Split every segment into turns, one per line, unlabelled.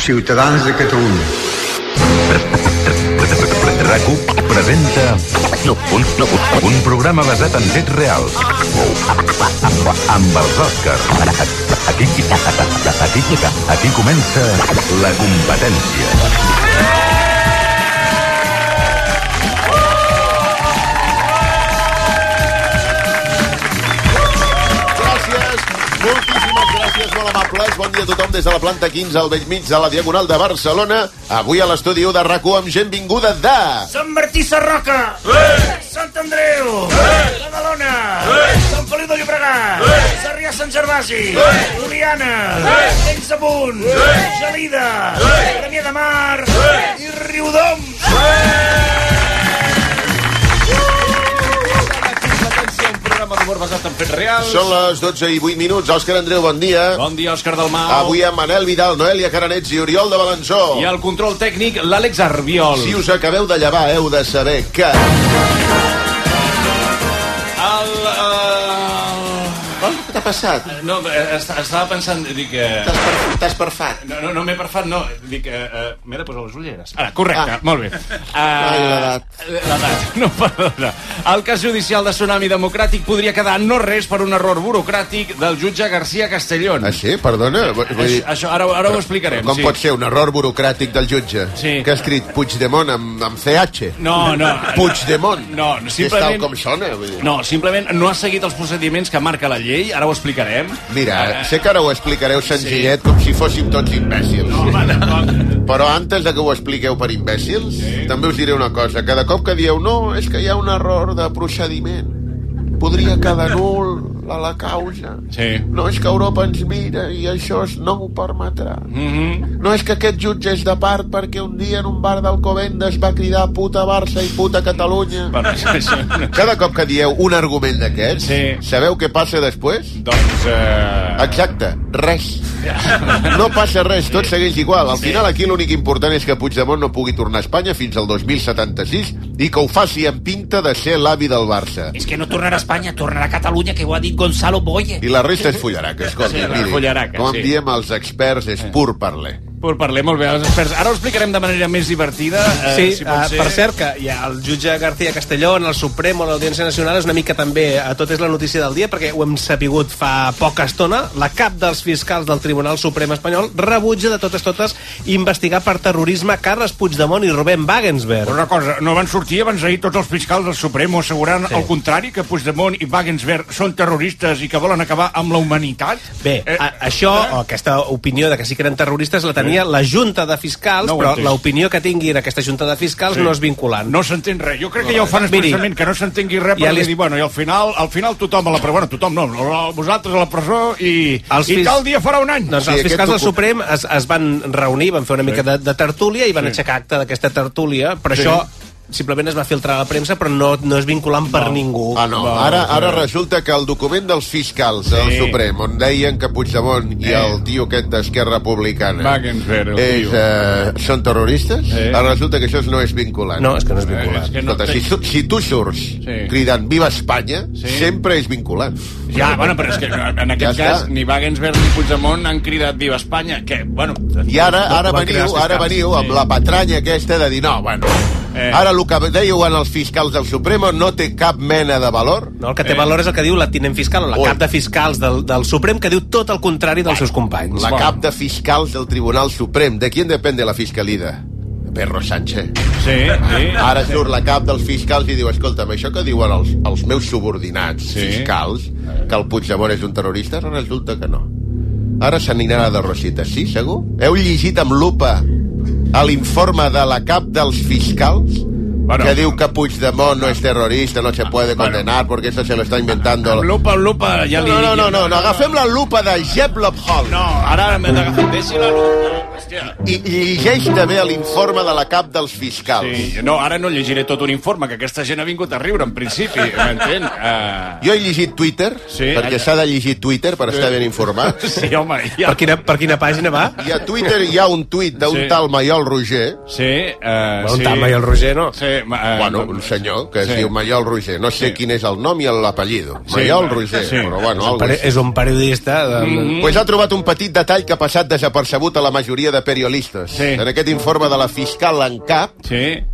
Ciutadans de Catalunya.
RAC1 presenta un, un programa basat en fets reals amb, amb els Oscars. Aquí, aquí, aquí comença la competència.
Gràcies, moltíssimes gràcies, molt amables. Bon dia a tothom des de la planta 15 al vell mig de la Diagonal de Barcelona. Avui a l'estudi u de rac amb gent vinguda de...
Sant Martí Sarroca! Eh! Sant Andreu! Eh! La Balona! Eh! Sant Feliu de Llobregat! Eh! Sarrià Sant Gervasi! Eh! Oliana! Eh! Tens amunt! Eh! Gelida! Eh! Premià de Mar! Eh! I Riudoms!
competència, un programa d'humor basat en fets reals.
Són les 12 i 8 minuts. Òscar Andreu, bon dia.
Bon dia, Òscar Dalmau.
Avui amb Manel Vidal, Noelia Caranets i Oriol de Balançó.
I el control tècnic, l'Àlex Arbiol.
Si us acabeu de llevar, heu de saber que...
El...
Uh,
eh,
Oh, Què t'ha passat?
No, eh, est- estava pensant, dic... eh,
T'has per- T'has perfat.
No, no, no m'he perfat, no. Dic, eh, eh, m'he de posar les ulleres. Ara, correcte,
Ah.
molt bé. Uh,
Ai, l'edat.
L'edat, no, perdona. El cas judicial de Tsunami Democràtic podria quedar en no res per un error burocràtic del jutge García Castellón.
Ah, sí? Perdona? Vull dir,
Això, això ara, ara ho explicarem.
Com
sí.
pot ser un error burocràtic del jutge?
Sí.
Que ha escrit Puigdemont amb, amb CH?
No, no.
Puigdemont.
No, no,
Que és tal
simplement-
com sona. Vull dir.
No, simplement no ha seguit els procediments que marca la llei, ara ho explicarem.
Mira,
Eh,
sé que ara ho explicareu senzillet com si fóssim tots imbècils.
No, home, tampoc.
Però antes de que ho expliqueu per imbècils, també us diré una cosa. Cada cop que dieu no, és que hi ha un error de procediment. Podria quedar nul a la causa.
Sí.
No és que Europa ens mira i això es no ho permetrà.
Mhm.
No és que aquest jutge és de part perquè un dia en un bar d'Alcobendes va cridar puta Barça i puta Catalunya.
Bueno, això, això,
Cada cop que dieu un argument d'aquests,
Sí.
sabeu què passa després?
doncs... Eh...
Exacte, res. No passa res, tot segueix igual. Al final aquí l'únic important és que Puigdemont no pugui tornar a Espanya fins al 2076 i que ho faci amb pinta de ser l'avi del Barça.
És que no tornarà a Espanya, tornarà a Catalunya, que ho ha dit Gonzalo Boye.
I la resta és fullaraca, escolti.
Sí, la
miri,
fullaraca,
com en
sí.
diem els experts, és pur parler.
Por
Eh,
parlem molt bé als experts. Ara ho explicarem de manera més divertida. Eh,
Sí,
si
si
pot ser.
per cert, que hi ha el jutge García Castellón, el Suprem o l'Audiència Nacional és una mica també a tot és la notícia del dia, perquè ho hem sapigut fa poca estona. La cap dels fiscals del Tribunal Suprem espanyol rebutja de totes totes investigar per terrorisme Carles Puigdemont i Rubén
Però
Wagensberg.
una cosa, no van sortir abans ahir tots els fiscals del Suprem assegurant sí. el contrari, que Puigdemont i Wagensberg són terroristes i que volen acabar amb la humanitat? Eh,
Bé, a, això, o aquesta opinió de que sí que eren terroristes, la tenia la Junta de Fiscals,
No ho he
però
entès.
l'opinió que tingui aquesta Junta de Fiscals
Sí.
no és vinculant.
No s'entén res. Jo crec que ja ho fan
Miri,
expressament, que no s'entengui res,
ja
però
li-
li... dir, bueno, i al final, al final tothom a la presó, bueno, tothom no, vosaltres a la presó i,
Els
i
fis-
tal dia farà un any.
Doncs
Sí,
els
aquest
fiscals del
ocupa.
Suprem es, es van reunir, van fer una mica de, de tertúlia i van aixecar acte d'aquesta tertúlia, però
Sí.
això simplement es va filtrar a la premsa, però no, no és vinculant per ningú.
Ah, no. Ara, ara resulta que el document dels fiscals del
Sí. Eh.
Suprem, on deien que Puigdemont i el tio aquest d'Esquerra Republicana
Wagensberg, el
és,
tio.
eh, són terroristes,
Sí.
ara resulta que això no és vinculant.
No, és que no és
Eh,
vinculant.
és que no
Escolta,
té-
si, tu, si tu surts
Sí.
cridant Viva Espanya, sempre és vinculant.
Ja, bueno, però és que en aquest
Ja
ja cas
està.
ni Wagensberg ni Puigdemont han cridat Viva Espanya, que, bueno...
I ara ara
van cridar
veniu,
els
ara
fiscals.
veniu amb
Sí.
la patranya aquesta de dir, no, bueno,
Eh.
ara el que dèieu en els fiscals del Supremo no té cap mena de valor.
No, el
Eh.
que té valor és el que diu la tinent fiscal o la
Eh. Ui.
cap de fiscals del, del Suprem que diu tot el contrari dels seus companys.
La cap de fiscals del Tribunal Suprem. ¿De quién depende la fiscalida? Perro Sánchez.
Sí, sí.
Ara surt la cap dels fiscals i diu, escolta'm, això que diuen els, els meus subordinats
Sí.
fiscals, que el Puigdemont és un terrorista, ara resulta que no. Ara s'anirà de Rosita, sí, segur? Heu llegit amb lupa a l'informe de la cap dels fiscals
Bueno,
que diu que Puigdemont no és terrorista, no se puede condenar, porque eso se lo está inventando...
Amb lupa, amb lupa, ja
No,
li
no,
dic
no,
jo.
no, no, agafem la lupa de Jeb Lobhol.
No, ara m'he d'agafar. Deixi la lupa. Hòstia.
I llegeix també l'informe de la cap dels fiscals.
Sí, no, ara no llegiré tot un informe, que aquesta gent ha vingut a riure, en principi, m'entén? Uh...
Jo he llegit Twitter,
Sí. Ah,
perquè s'ha de llegir Twitter per estar ben informat.
Sí, home, ja...
Per quina, per quina pàgina va?
I a Twitter hi ha un tuit d'un
Sí.
tal Maiol Roger,
Sí, uh,
Un
sí.
tal, i el Roger, no?
Sí,
Roger... Eh,
Bueno, un senyor que es
Sí.
diu Maiol Roger. No sé
Sí.
quin és el nom i l'apellido.
Sí.
Maiol Roger,
Sí.
però bueno, algo
Pare-
així.
És un periodista... De...
Mm-hmm.
Mm.
Pues ha trobat un petit detall que ha passat desapercebut a la majoria de periodistes.
Sí.
En aquest informe de la fiscal en cap
Sí,
es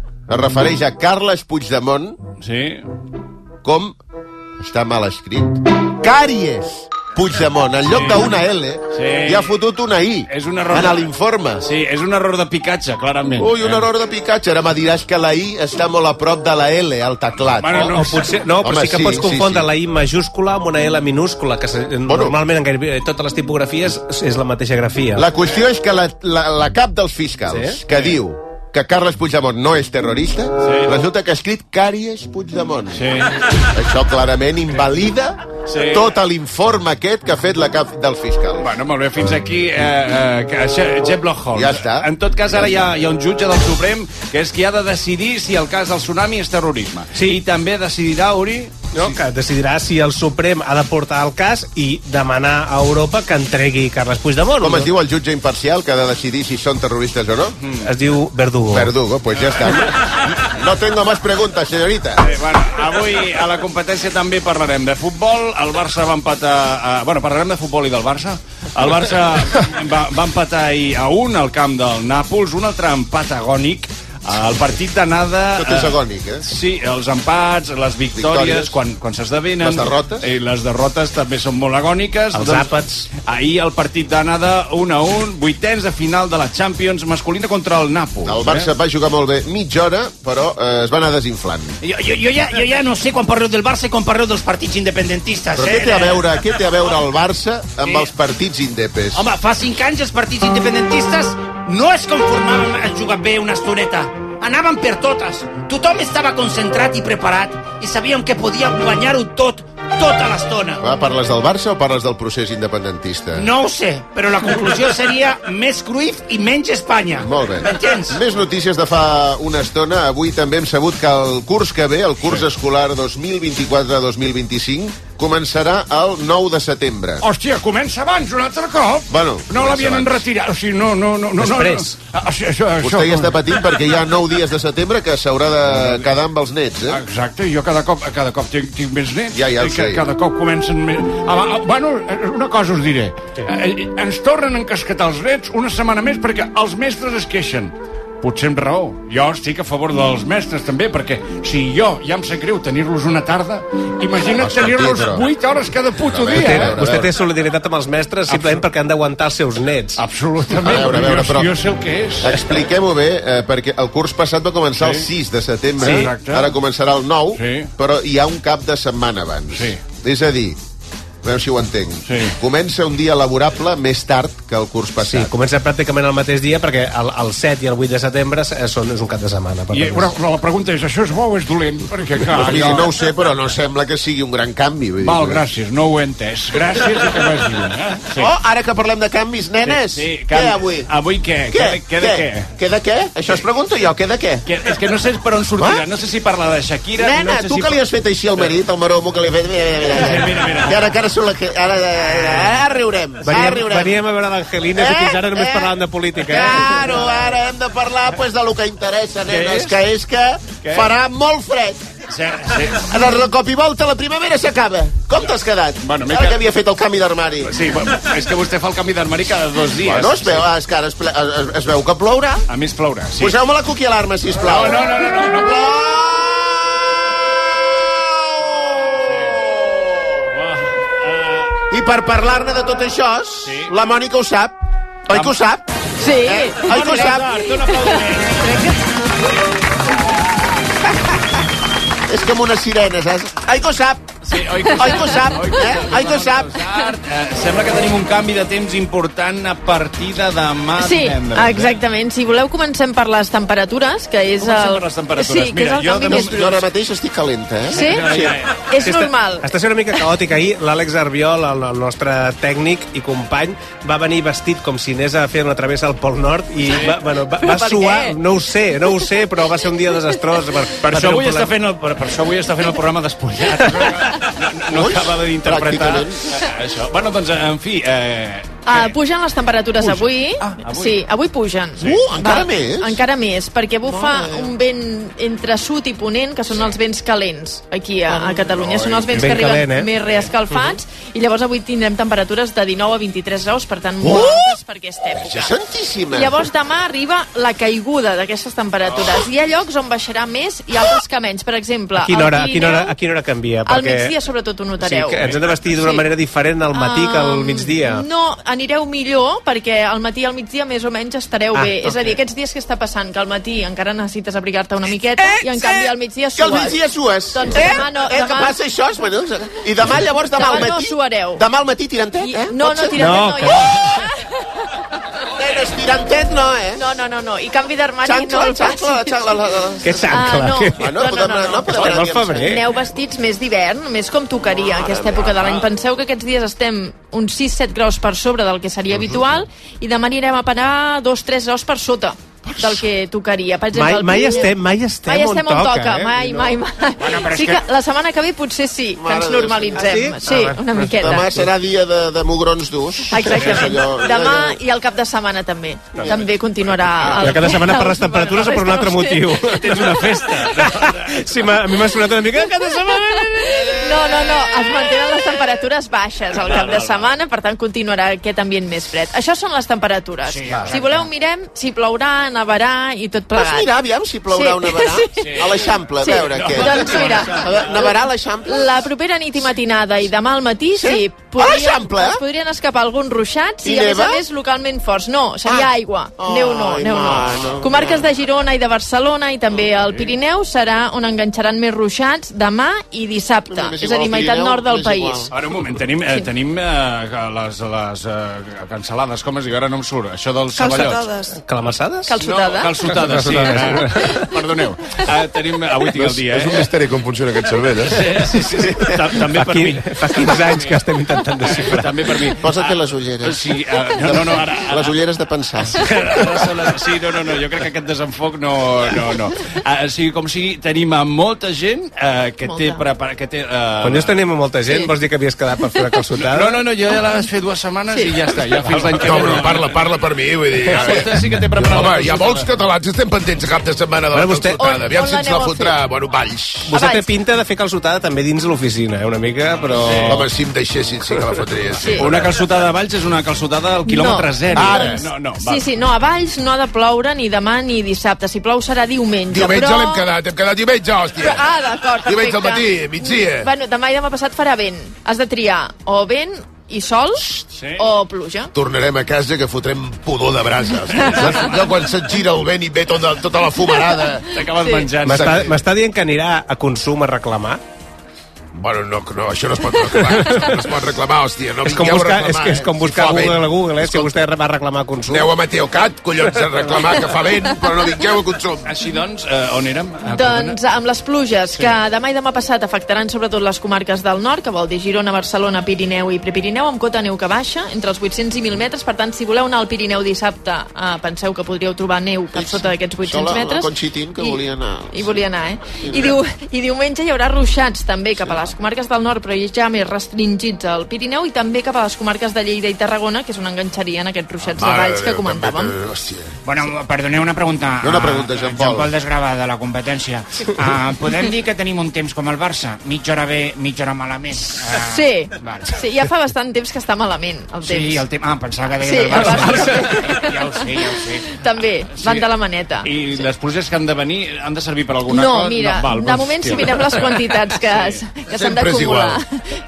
refereix a Carles Puigdemont
sí.
com... Està mal escrit. Càries Puigdemont. En lloc d'una L,
Sí.
hi ha fotut una I.
És un error.
En l'informe.
Sí, és un error de picatge, clarament.
Ui, un error de picatge. Ara me diràs que la I està molt a prop de la L, al teclat.
Bueno, no,
Oh, O potser, no, però
Home,
sí que
sí,
pots
sí,
confondre
sí.
la I majúscula amb una L minúscula, que se- normalment en gairebé totes les tipografies és la mateixa grafia.
La qüestió és que la, la, la cap dels fiscals,
Sí?
sí? que sí. diu que Carles Puigdemont no és terrorista, sí. resulta que ha escrit Càries Puigdemont.
Sí.
Això clarament invalida
Sí.
sí. tot l'informe aquest que ha fet la cap dels fiscals.
Bueno, molt bé, fins aquí eh, eh, que- Xe- Xeplo Holmes.
Ja està.
En tot cas, ara hi ha, hi ha un jutge del Suprem que és qui ha de decidir si el cas del tsunami és terrorisme. Sí. I també decidirà, Uri...
No, que decidirà si el Suprem ha de portar el cas i demanar a Europa que entregui Carles Puigdemont.
Com es diu el jutge imparcial que ha de decidir si són terroristes o no? Mm.
Es diu Verdugo.
Verdugo, pues ja està. No tengo más preguntas, señorita.
Bé, Eh, bueno, avui a la competència també parlarem de futbol. El Barça va empatar... A... Bueno, parlarem de futbol i del Barça. El Barça va, va empatar ahir a un al camp del Nàpols, un altre empat agònic. El partit d'anada...
Tot és
eh,
agònic, eh?
Sí, els empats, les victòries,
Victòries.
quan, quan s'esdevenen...
Les derrotes.
I les derrotes també són molt agòniques. Doncs
Els àpats.
Ahir el partit d'anada 1 a 1, vuitens de final de la Champions masculina contra el Nàpols.
El
Eh?
Barça va jugar molt bé mitja hora, però eh, es va anar desinflant.
Jo, jo, jo, ja, jo ja no sé quan parleu del Barça i quan parleu dels partits independentistes,
Però
eh?
què té a veure, què té a veure el Barça amb els partits indepes?
Home, fa cinc anys els partits independentistes no es conformaven a jugar bé una estoneta. Anaven per totes. Tothom estava concentrat i preparat i sabíem que podíem guanyar-ho tot, tota l'estona.
Va, parles del Barça o parles del procés independentista?
No ho sé, però la conclusió seria més Cruyff i menys Espanya.
Molt bé.
M'entens?
Més notícies de fa una estona. Avui també hem sabut que el curs que ve, el curs escolar 2024-2025, començarà el 9 de setembre.
Hòstia, comença abans, un altre cop.
Bueno,
no
comença
l'havien
abans.
enretirat. O sigui, no, no, no. no
Després.
No, no. Això, això, això,
Vostè hi està patint perquè hi ha 9 dies de setembre que s'haurà de quedar amb els nets, eh?
Exacte, jo cada cop, cada cop tinc, tinc més nets.
Ja, ja ho
i ca-
sé.
Cada cop comencen més... Ah, va, ah, bueno, eh, una cosa us diré. Eh, ens tornen a encasquetar els nets una setmana més perquè els mestres es queixen. Potser amb raó. Jo estic a favor dels mestres, també, perquè si jo ja em sap greu tenir-los una tarda, imagina't
Hòstia,
tenir-los
però-
8 hores cada puto
A veure,
dia.
a
Té,
eh?
veure.
vostè té solidaritat amb els mestres simplement perquè han d'aguantar els seus nets.
Absolutament.
A veure, a veure,
jo,
però-
jo sé el que és.
Expliquem-ho bé, eh, perquè el curs passat va començar sí. el 6 de setembre,
Sí. Exacte.
ara començarà el 9,
Sí.
però hi ha un cap de setmana abans.
Sí.
És a dir, a veure si ho entenc,
Sí.
comença un dia laborable més tard que el curs
Sí,
passat.
comença pràcticament el mateix dia perquè el, el 7 i el 8 de setembre eh, són, és un cap de setmana. Per
I,
tant,
però, però la pregunta és, això és bo o és dolent? Perquè, clar,
Doncs miri,
jo-
no ho sé, però no sembla que sigui un gran canvi. Vull dir,
Val,
que-
gràcies, no ho he entès. Gràcies i que vagi bé. Eh? Sí.
Oh, ara que parlem de canvis, nenes,
can-
què avui?
Avui què?
Què?
Què? Què? de què?
Què de què? Això es pregunto jo, què de què?
Que, és que no sé per on sortirà,
Ah?
no sé si parla de Shakira...
Nena,
no sé
tu
si...
que li has fet així al marit, al maromo que li has fet... Mira, mira, mira.
Mira, mira.
Que ara, que ara, són la que... ara, ara, ara riurem,
Ah,
ara
Veníem,
riurem.
veníem a veure l'Angelina, eh?
Eh?
i fins ara només
Eh?
parlàvem de política. Eh?
Claro, ara hem de parlar pues, de lo que interessa,
és?
nenes, que és que
Què?
farà molt fred.
Sí, sí.
Ara, de cop i volta, la primavera s'acaba. Com t'has quedat?
Bueno, m'he
ara
quedat-
que havia fet el canvi d'armari.
Sí, bueno, és que vostè fa el canvi d'armari cada dos dies.
Bueno, es veu, és que ara es, ple- es, es veu que plourà.
A més plourà, sí.
Poseu-me la cuqui alarma, sisplau.
No, no, no, no, no, no.
I per parlar-ne de tot això, sí. la Mònica ho sap. Oi que ho sap?
Sí.
Eh? Oi que ho sap? És com una sirena, saps? Ai, que ho sap!
Sí, oi que
Oi que ho sap? Eh? Oi que ho sap?
Eh, sembla que tenim un canvi de temps important a partir de demà
Sí,
divendres. eh?
exactament. Si voleu, comencem per les temperatures, que és
Comencem
el...
per les temperatures.
Sí, que
Mira,
és el
jo
canvi
de
més
Jo
brusc.
ara mateix estic calenta, eh?
Sí?
Sí.
És normal.
Està sent una mica caòtic. Ahir l'Àlex Arbiol, el, el nostre tècnic i company, va venir vestit com si anés a fer una travessa al Pol Nord i va, bueno, va, va
Per
suar,
què?
no ho sé, no ho sé, però va ser un dia desastrós. Per,
Per
va
això,
tenir un
avui està
problema.
fent el, per, per això avui està fent el programa despullat. No, no, no
Ui,
acaba d'interpretar
pràcticament.
eh, això. Bueno, doncs, en fi, eh,
Uh, pugen les temperatures avui. Ah, avui. Sí, avui pugen. Sí.
Uh, encara més?
Encara més, perquè bufa un vent entre sud i ponent, que són els vents calents aquí a, a Catalunya. Són els vents
Ben
que arriben
calent, eh? Mm-hmm.
més reescalfats, i llavors avui tindrem temperatures de 19 a 23 graus, per tant, molt altes per aquesta època.
Uh! Ja santíssima!
I Llavors demà arriba la caiguda d'aquestes
Oh.
temperatures. Hi ha llocs on baixarà més i altres que menys. Per exemple,
A quina hora,
al
a quina hora,
Pirineu,
a quina hora canvia?
al migdia sobretot ho
Eh, sí,
notareu.
que ens hem de vestir d'una
Sí.
manera diferent al matí que al
Um,
migdia.
No, anireu millor perquè al matí i al migdia més o menys estareu
Ah,
bé. És a
ok.
dir, aquests dies que està passant, que al matí encara necessites abrigar-te una miqueta i en canvi al migdia
Eh, Que
sues.
al migdia sues.
Doncs
eh?
demà no,
eh,
demà-
Que passa això, els menuts. I demà, llavors, demà,
Demà
al
no
matí...
suareu.
Demà al matí tirantet,
I,
eh?
no,
Pot
no,
ser?
tirantet
No,
no,
que
hi ha.
Nenes, tirantet no, eh?
no, no, no, no. I canvi d'armari no
Xancla,
el facis.
xancla, xancla. la- la- la-
Què s'ancla?
no.
Que-
Ah, no,
No, no,
podem,
no,
no,
no.
Estem
podem anar
al
dient això.
febrer.
Aneu vestits més d'hivern, més com tocaria aquesta època de l'any. Penseu que aquests dies estem uns 6-7 graus per sobre del que
Mhm.
seria habitual i demà anirem a parar 2-3 graus per sota del que tocaria. Per exemple,
Mai,
al
mai,
Pirineu-
estem, mai estem
Mai estem on toca,
eh?
mai, mai, mai.
però és
sí que la setmana que ve potser sí, que
Mare
ens
de Déu.
normalitzem.
Ah, sí?
Sí,
Ah, va.
una miqueta.
Demà serà dia de, de mugrons durs.
Exactament.
Allò- allò-
Demà i el cap de setmana també. També continuarà...
Però cada setmana per les temperatures o per un altre
No ho sé.
motiu? Tens una festa. sí, m'ha- a mi m'ha sonat una mica cada setmana.
No, no, no, es mantenen les temperatures baixes al cap de setmana, per tant continuarà aquest ambient més fred. Això són les temperatures. si voleu mirem si plourà, nevarà i tot
Pots
plegat.
mirar, aviam, si plourà
Sí.
o nevarà? A l'Eixample, a
Sí.
veure què.
Doncs mira.
A veure, Nevarà a l'Eixample?
La propera nit i matinada i demà al matí sí,
Sí? A l'Eixample, eh?
es podrien escapar alguns ruixats i,
I
a més a
neva?
més localment forts. No, seria
Ah.
aigua.
Ai,
Neu no, neu no.
mano.
Comarques de Girona i de Barcelona i també al Pirineu serà on enganxaran més ruixats demà i dissabte.
M'és
És a
Ah, igual,
dir, meitat
Pirineu,
nord del
m'és igual.
país.
Ara, un moment, tenim, eh, tenim eh, les, les eh, cancel·lades, com es diu, ara no em surt, això dels ceballots.
Calçotades.
Calamassades?
Calçotada.
calçotades, sí. Eh, perdoneu. Eh, tenim, avui tinc el dia,
És un
eh?
misteri com funciona aquest cervell, eh?
Sí, sí, sí. Ta- També
Fa,
per mi.
quin, fa 15 anys que estem intentant desxifrar.
També per mi.
Posa't
Ah,
les ulleres.
Sí, eh, no, no, no, ara, ara,
Les ulleres de pensar.
Ara són les- Sí, no, no, no, jo crec que aquest desenfoc no... no, no. Uh, sigui com sigui, tenim a molta gent uh, que, té
Molta.
prepara, que té... Uh...
Quan dius tenim a molta gent, vols dir que havies quedat per fer una calçotada?
No, no, no, jo ja la vaig fer dues setmanes
Sí.
i ja està, ja fins l'any que
Ah, No, però
no.
parla, parla per mi, vull dir... a
Vostè
veure.
sí que té preparat
Home,
la
hi ha molts catalans, estem pendents de cap de setmana de la
Bueno, vostè-
On-
calçotada. Aviam
on
si ens
l'aneu
la
a
fotrà. Bueno, valls.
Vostè té
Abans.
pinta de fer calçotada també dins l'oficina, eh, una mica, però...
Home, si em deixessin, sí que la fotria. Sí.
Sí.
Una calçotada a Valls és una calçotada al quilòmetre
No.
zero.
Ah,
Ara.
No, no, va.
Sí, sí, no, a Valls no ha de ploure ni demà ni dissabte. Si plou serà diumenge.
Diumenge
però...
l'hem quedat, hem quedat diumenge, hòstia.
Però, ah, d'acord,
Diumenge al
perfecte.
matí, migdia.
Bueno, demà i demà passat farà vent. Has de triar o vent i sol sí. o pluja.
Tornarem a casa que fotrem pudor de brasa. Saps? Allò quan se't gira el vent i ve tota, tota la fumarada.
T'acabes sí. menjant.
M'està m'està dient que anirà a consum a reclamar?
Bueno, no, no, això no es pot reclamar. No es pot reclamar, hòstia. No
És com
vingueu a
buscar,
reclamar,
és, que és
eh?
com buscar
Fa vent.
Google a Google, eh? Si vostè va reclamar a consum.
Aneu a Meteocat, collons, a reclamar que fa vent, però no vingueu a consum.
Així doncs, eh, on érem? Ah,
Doncs amb les pluges, que demà i demà passat afectaran sobretot les comarques del nord, que vol dir Girona, Barcelona, Pirineu i Prepirineu, amb cota neu que baixa, entre els 800 i 1.000 metres. Per tant, si voleu anar al Pirineu dissabte, eh, penseu que podríeu trobar neu per
Sí,
sota d'aquests 800
això la- la
metres.
Conchitín, que volia anar.
I volia anar, eh? I, diu, I diumenge hi haurà ruixats també cap a les comarques del nord, però ja més restringits al Pirineu i també cap a les comarques de Lleida i Tarragona, que és on enganxarien aquests ruixats
Ah,
de
Mare de
valls que
Déu,
comentàvem.
també, Hòstia.
Bueno, perdoneu una pregunta.
No, una
a-
pregunta,
a
Jean Paul.
Jean Paul Desgrava, de la competència. Uh, podem dir que tenim un temps com el Barça? Mitja hora bé, mitja hora malament. Uh,
Sí,
Vale.
sí, ja fa bastant temps que està malament el temps.
Sí, el temps... Ah, pensava que deies
Sí,
el Barça.
el Barça.
ja ho sé, ja ho sé.
També, van
sí.
de la maneta.
I les pluges que han de venir han de servir per alguna cosa?
No, mira,
val,
doncs,
doncs,
de moment si
hòstia.
mirem les quantitats que, sí. que s'han
Sempre és
d'acumular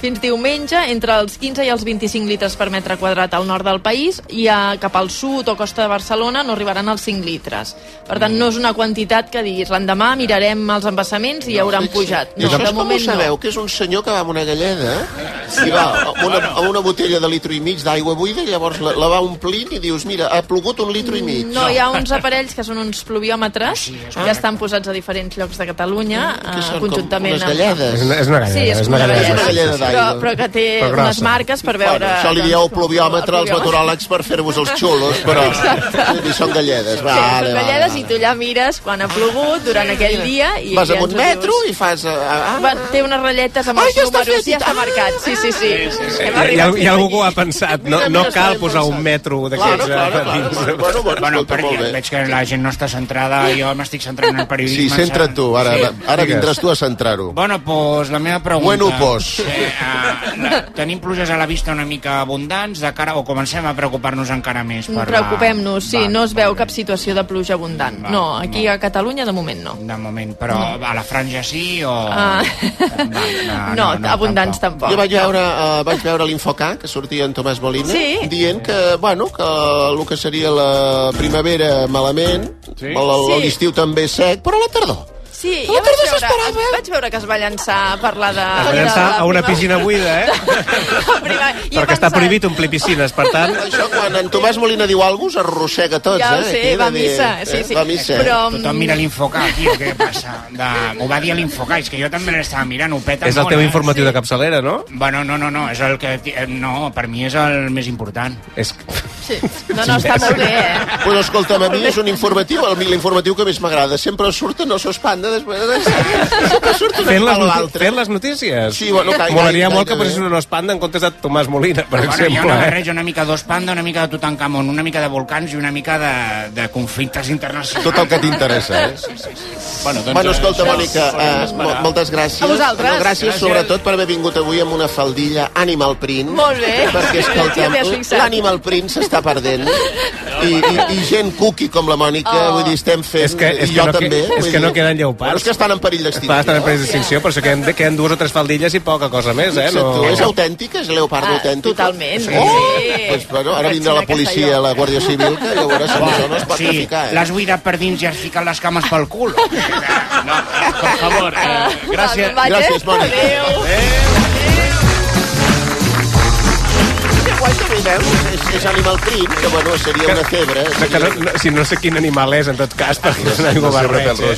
fins diumenge, entre els 15 i els 25 litres per metre quadrat al nord del país i a, cap al sud o costa de Barcelona no arribaran als 5 litres. Per tant, no és una quantitat que diguis l'endemà mirarem els embassaments i hauran pujat.
I
No,
això
de
és com ho
moment
sabeu,
no.
que és un senyor que va amb una galleda i va amb una, amb una botella de litro i mig d'aigua buida i llavors la, la va omplint i dius, mira, ha plogut un litro i mig.
No, hi ha uns aparells que són uns
Ah,
pluviòmetres que estan posats a diferents llocs de Catalunya, eh,
que són com
conjuntament
unes
amb,
galledes.
És una, és una
Sí, sí, és una
galleda.
galleda,
És una galleda
però,
d'aigua.
però que té
Però grossa.
unes marques per veure...
Bueno, això li dieu el pluviòmetre als
pluviòmetre.
meteoròlegs per fer-vos els xulos, però i són galledes.
Sí,
Vale,
són
vale,
galledes
vale.
i tu allà mires quan ha plogut durant aquell dia i
Vas
i
amb
ens
un
ho
metro
dius.
i fas... eh, Ah,
Va, té unes ratlletes amb
Ai,
els
ja està
números
fet,
i ja està
i tant.
marcat. Sí, sí, sí. Hem
Hi, hi, ha-
arribat
hi ha algú que ho
fins
ha pensat. No,
Mira,
no
mira,
cal
està
posar un
pensat.
metro
Claro,
d'aquests
claro,
eh,
claro.
dins.
Bueno, bueno,
Bueno,
escolta,
perquè
molt bé.
veig que la gent no està centrada, jo m'estic centrant en el periodisme.
Sí, centra't tu, ara,
Sí.
ara, ara vindràs tu a centrar-ho.
Bueno, pues la meva pregunta...
Bueno, pues.
Eh, uh, la, tenim pluges a la vista una mica abundants de cara, o comencem a preocupar-nos encara
Mm,
més? Per la-
Preocupem-nos, sí,
Va,
no es
molt
veu
bé.
cap situació de pluja abundant.
Va,
No, aquí
no.
a Catalunya de moment no.
De moment, però a la franja sí o...
Mm. Ah.
Va,
No, abundants tampoc.
Jo vaig veure, uh, vaig veure l'Infocar, que sortia en Tomàs Molina,
Sí.
dient que, bueno, que el que seria la primavera malament, sí.
Sí.
l'estiu també sec, però la tardor.
Sí,
No
ja vaig
tardes a
veure,
esperar, eh?
vaig veure que es va llançar a parlar de...
Es va llançar a una piscina buida, eh? Perquè està prohibit omplir piscines, per tant...
Això, quan en Tomàs Molina diu alguna cosa, arrossega tots,
Ja ho
eh?
sé,
Aquí,
va a
de dir, eh.
missa, sí, sí.
Va a missa.
Però, mm,
Tothom mira l'infocar, tio, què passa? De... M'ho va dir a l'infocar, és que jo també l'estava mirant, ho peta
És el
molt,
teu
eh?
informatiu de capçalera, no?
Bueno, no, no, no, és el que... eh, No, per mi és el més important.
És...
Sí. No, no, està molt bé, eh?
Pues escolta'm, a mi és un informatiu, el mi- l'informatiu que més m'agrada. Sempre surten, no sos panda, després... Sempre surt una
Fent les,
cosa o
noti-
l'altra.
fent les notícies?
Sí, bueno, gai-
Molaria
gai-
molt que
gairebé.
posessin un espanda en comptes de Tomàs Molina, per
Però, bueno, jo
exemple.
no
eh?
barrejo una mica d'os panda, una mica de Tutankamon, una mica de volcans i una mica de, de conflictes internacionals.
Tot el que t'interessa, eh?
Bueno, doncs,
Bueno, escolta, Mònica, eh, mo- moltes gràcies.
A vosaltres.
No, gràcies, sobretot per haver vingut avui amb una faldilla Animal Print.
Molt bé.
Perquè,
Ja
escolta'm,
t'hi has fixat.
l'Animal Print s'està perdent. I, i, I gent cuqui com la Mònica,
Oh.
vull dir, estem fent...
És que- és
i
que
jo
no que-
també.
és
vull
que
dir.
no queden lleopards.
Bueno, és que estan en perill
Va estar
d'extinció.
en presa d'extinció, per això queden, queden dues o tres faldilles i poca cosa més, eh?
Sí, tu, és autèntica? És leopardo
Ah,
autèntic?
totalment,
Oh!
sí.
Pues, bueno, ara
Vaig
vindrà
anar
la
a
policia,
Castelló.
la Guàrdia Civil, que ja veuràs com això no es pot
sí,
traficar, eh?
l'has buidat per dins i has ficat les cames pel cul. No, per favor, eh,
doncs
gràcies.
Vale.
Gràcies, Mònica.
Adéu.
Guai, també,
eh?
veus? És, és Animal Print, que, bueno, seria una febre.
No, que no, no, si no sé quin animal és, en tot cas,
Ah,
perquè és una aigua barreig. Eh?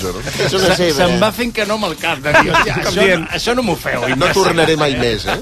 És una
Se-
febre.
Se'm va fent que no amb el cap, de dir, "Hòstia, això,
dient.
això no m'ho feu.
No tornaré mai més, eh?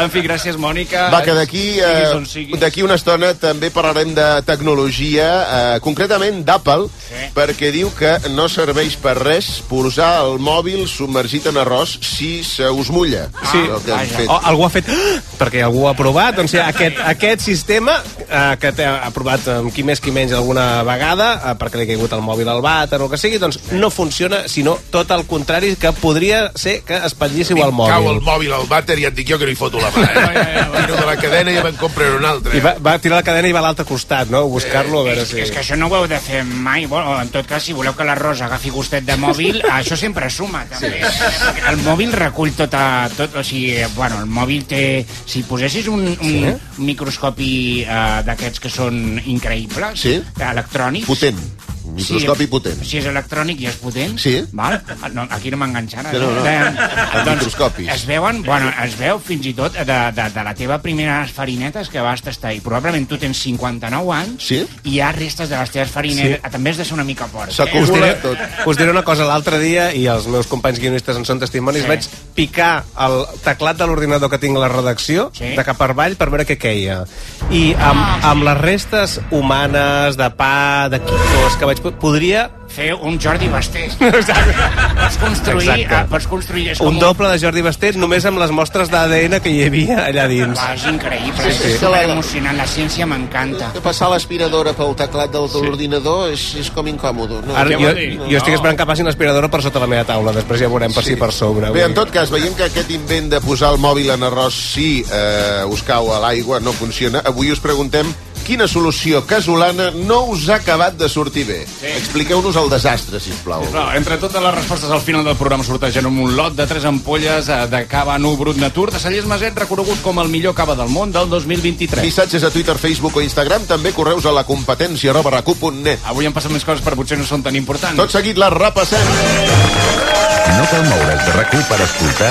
En fi, gràcies, Mònica.
Va, que d'aquí
Siguis on
eh,
siguis.
d'aquí una estona també parlarem de tecnologia, eh, concretament d'Apple, sí. perquè diu que no serveix per res posar el mòbil submergit en arròs si se us mulla.
Sí.
El que han Ah, fet.
Oh,
O, algú ha fet... "Ah!", perquè algú ho ha provat. Doncs sí, aquest, aquest sistema, eh, que t'ha ha provat amb qui més qui menys alguna vegada, eh, perquè li ha caigut el mòbil al vàter o el que sigui, doncs no funciona, sinó tot el contrari, que podria ser que espatlléssiu el
Cau el
mòbil.
mòbil al vàter i et dic jo que no hi foto la mà. Eh? Tiro de la cadena i ja me'n compraré un altre.
I va, va tirar la cadena i va a l'altre costat, no? A Buscar-lo, a veure
Eh, És,
si...
és que això no ho heu de fer mai. Bueno, en tot cas, si voleu que la Rosa agafi gustet de mòbil, això sempre suma, també. Sí. El mòbil recull tot, a, tot... O sigui, bueno, el mòbil té... Si posessis un, un, sí? un microscopi uh, d'aquests que són increïbles,
Sí.
electrònics...
Potent. Un Microscopi
sí,
potent.
Si és electrònic i és potent,
Sí.
val? No, aquí no m'enganxarà.
No, no, no.
Eh, doncs,
microscopis.
Es veuen, bueno, es veu fins i tot de, de, de la teva primera farinetes que vas tastar i probablement tu tens 59 anys
Sí.
i hi ha restes de les teves farinetes. Sí. També has de ser una mica fort. Eh?
Us
S'acumula
diré,
tot.
us diré una cosa, l'altre dia, i els meus companys guionistes en són testimonis,
Sí.
sí. vaig picar el teclat de l'ordinador que tinc a la redacció,
Sí.
sí. de cap per avall, per veure què queia. I amb, amb les restes humanes, de pa, de quicos, que vaig... po- Podria
Fer un Jordi Basté. Exacte. Pots construir...
Exacte.
Exacte. Eh, pots construir... És
un doble de Jordi Bastet només amb les mostres d'ADN que hi havia allà dins.
Va, és increïble,
Sí,
sí,
sí.
sí. és super emocionant, la ciència m'encanta.
Que passar l'aspiradora pel teclat del de l'ordinador és, és com incòmode. No?
Ara,
Què
jo,
vol dir?
jo estic esperant que passi l'aspiradora per sota la meva taula, després ja veurem per sí. si per sobre.
Bé, en
Vull
tot cas, veiem que aquest invent de posar el mòbil en arròs si eh, us cau a l'aigua no funciona. Avui us preguntem quina solució casolana no us ha acabat de sortir bé. Sí. Expliqueu-nos el desastre, sisplau.
Clar, entre totes les respostes al final del programa sortegem un lot de tres ampolles eh, de cava nu brut natur de Sallés Maset, reconegut com el millor cava del món del 2023.
Missatges a Twitter, Facebook o Instagram, també correus a la competència arroba recu.net.
Avui han passat més coses, però potser no són tan importants.
Tot seguit la repassem.
No cal moure's de rac per escoltar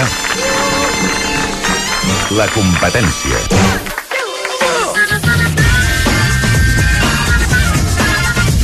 la competència.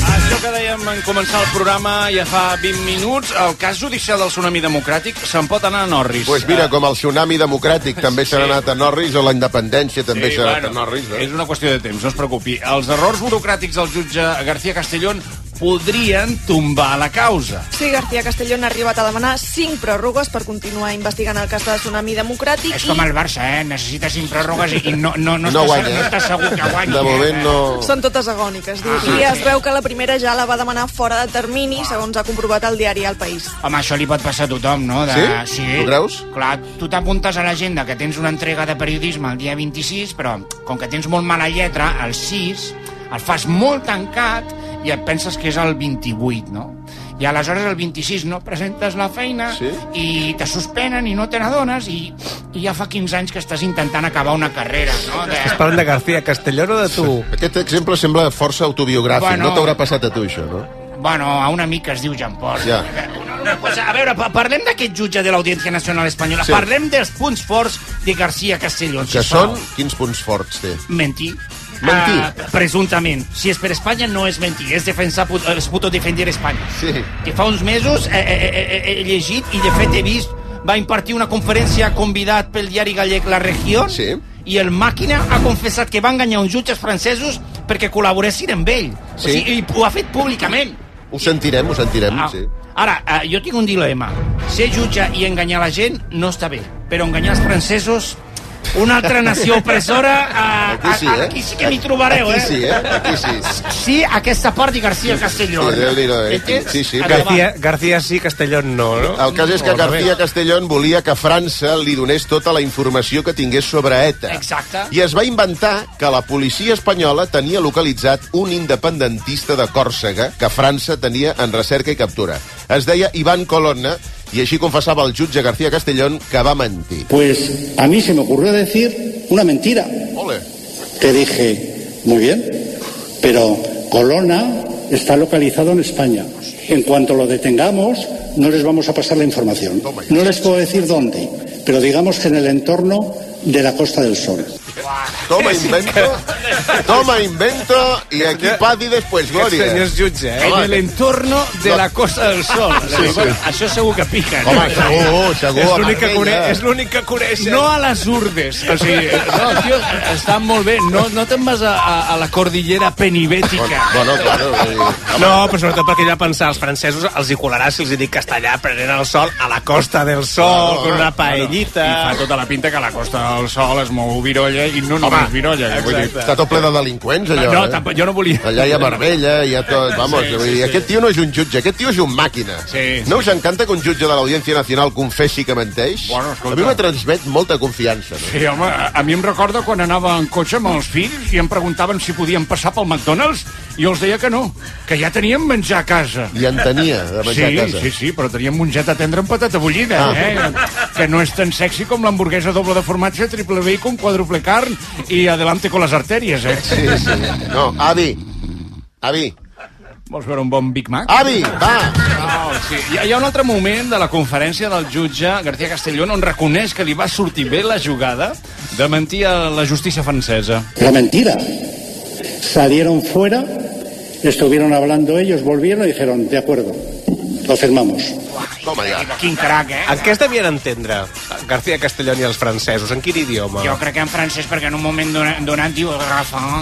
Això que dèiem en començar el programa ja fa 20 minuts. El cas judicial del tsunami democràtic se'n pot anar a Norris.
Pues Doncs mira, com el tsunami democràtic també s'ha anat a Norris, o la independència també s'ha anat a Norris. Eh?
és una qüestió de temps, no es preocupi. Els errors burocràtics del jutge García Castellón podrien tombar la causa.
Sí, García Castellón ha arribat a demanar cinc pròrrogues per continuar investigant el cas de Tsunami Democràtic
És com el Barça, eh? Necessita cinc pròrrogues i, i no, no, no,
No
estàs-
guanya,
no
eh?
estàs segur que guanyi. eh?
De moment no...
i són totes agòniques.
Ah,
Diu. I es veu que la primera ja la va demanar fora de termini, segons ha comprovat el diari El País.
Home, això li pot passar a tothom, no? De...
Sí? Tu creus?
Clar, tu t'apuntes a l'agenda que tens una entrega de periodisme el dia 26, però com que tens molt mala lletra, el 6, el fas molt tancat i et penses que és el 28, no? I aleshores el 26 no presentes la feina
Sí?
i te suspenen i no te n'adones i, i ja fa 15 anys que estàs intentant acabar una carrera, no? De...
Parlem de García Castellón o de tu?
Aquest exemple sembla força autobiogràfic.
Bueno.
No t'haurà passat a tu, això, no?
Bueno, a un amic que es diu Jean Paul.
Ja.
Una cosa, a veure, pa- parlem d'aquest jutge de l'Audiència Nacional Espanyola.
Sí.
Sí. Parlem dels punts forts de García Castellón.
Doncs
Que
sisplau.
són... Quins punts forts té?
Mentir.
Mentir.
Ah, presumptament. Si és per Espanya, no és mentir. És defensar, put- és puto defender Espanya.
Sí.
Que fa uns mesos eh, eh, eh, eh, he llegit i, de fet, he vist va impartir una conferència convidat pel diari gallec La Regió
Sí.
i el Màquina ha confessat que va enganyar uns jutges francesos perquè col·laboressin amb ell.
Sí.
O sigui, i ho ha fet públicament.
Ho sentirem, ho sentirem,
Ah,
sí.
Ara, eh, jo tinc un dilema. Ser jutge i enganyar la gent no està bé, però enganyar els francesos una altra nació opressora,
Ah,
eh,
Aquí sí, eh?
aquí sí que m'hi trobareu,
Aquí
eh?
sí, eh? Aquí sí.
Sí, aquesta part i García Castellón.
Sí, Déu-n'hi-do, eh?
Entens?
Sí, sí.
Endavant.
García, García sí, Castellón no, no?
El cas és que García Castellón volia que França li donés tota la informació que tingués sobre ETA.
Exacte.
I es va inventar que la policia espanyola tenia localitzat un independentista de Còrsega que França tenia en recerca i captura. Es deia Ivan Colonna i així confessava el jutge García Castellón que va mentir.
Pues a mí se me ocurrió decir una mentira,
Ole.
que dije, muy bien, pero Colona está localizado en España. En cuanto lo detengamos, no les vamos a pasar la información. No les puedo decir dónde, pero digamos que en el entorno de la Costa del Sol.
Toma invento, toma invento i aquí pati després
Aquest senyor
glòria.
és jutge, eh?
En el entorno de la Costa del Sol. Sí, sí. Això segur que pica.
Home, segur, segur.
És
a
l'únic que,
Marbella.
coneix, és l'únic que coneixen.
No a les urdes. O sigui, no, tio, està molt bé. No, no te'n vas a, a, a la cordillera penibètica.
Bueno, claro. vull dir,
No, però sobretot perquè ella pensar, els francesos els hi colarà si els hi dic castellà prenent el sol a la Costa del Sol,
Claro,
con una paellita...
I fa tota la pinta que a la Costa del Sol es mou virolla i no només virolla. que Vull dir,
Està tot ple de delinqüents, allò.
no,
eh?
tampoc, jo no volia...
Allà hi ha Marbella, hi ha tot... Vamos, sí, vull dir, aquest tio no és un jutge, aquest tio és un màquina.
Sí,
no us encanta que un jutge de l'Audiència Nacional confessi que menteix?
Bueno, escolta.
a mi me transmet molta confiança. No?
Sí, home, a a mi em recorda quan anava en cotxe amb els fills i em preguntaven si podíem passar pel McDonald's i jo els deia que no, que ja teníem menjar a casa.
I en tenia, de
Sí,
menjar a casa.
sí, sí, però teníem monget a tendre amb patata bullida, ah. eh? Que no és tan sexy com l'hamburguesa doble de formatge, triple bacon, quadruple carn i adelante con les artèries, eh?
sí, sí. No, avi, avi,
Vols veure un bon Big Mac?
avi, va!
Oh, sí. Hi, ha- hi ha un altre moment de la conferència del jutge García Castellón on reconeix que li va sortir bé la jugada de mentir a la justícia francesa.
Era mentira. Salieron fuera, estuvieron hablando ellos, volvieron y dijeron, de acuerdo, lo firmamos.
Toma ja.
Quin crac, eh?
En què es devien entendre García Castellón i els francesos? En quin idioma?
Jo crec que en francès, perquè en un moment dona- donat diu Rafa,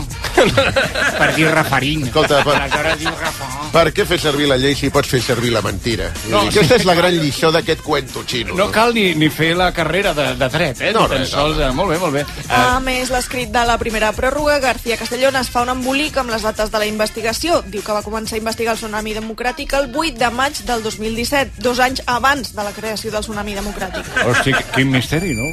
per dir Rafarín.
Escolta, per-
Aleshores diu Rafa.
Per què fer servir la llei si pots fer servir la mentira?
No,
No, dir, aquesta és la gran lliçó d'aquest cuento xino.
No cal ni, ni fer la carrera de, de dret, eh?
No,
Ni tan
res,
sols, eh? Molt bé, molt bé.
Ah.
A més, l'escrit de la primera pròrroga, García Castellón es fa un embolic amb les dates de la investigació. Diu que va començar a investigar el tsunami democràtic el 8 de maig del 2017, dos anys abans de la creació del tsunami democràtic.
Hosti, quin misteri, no?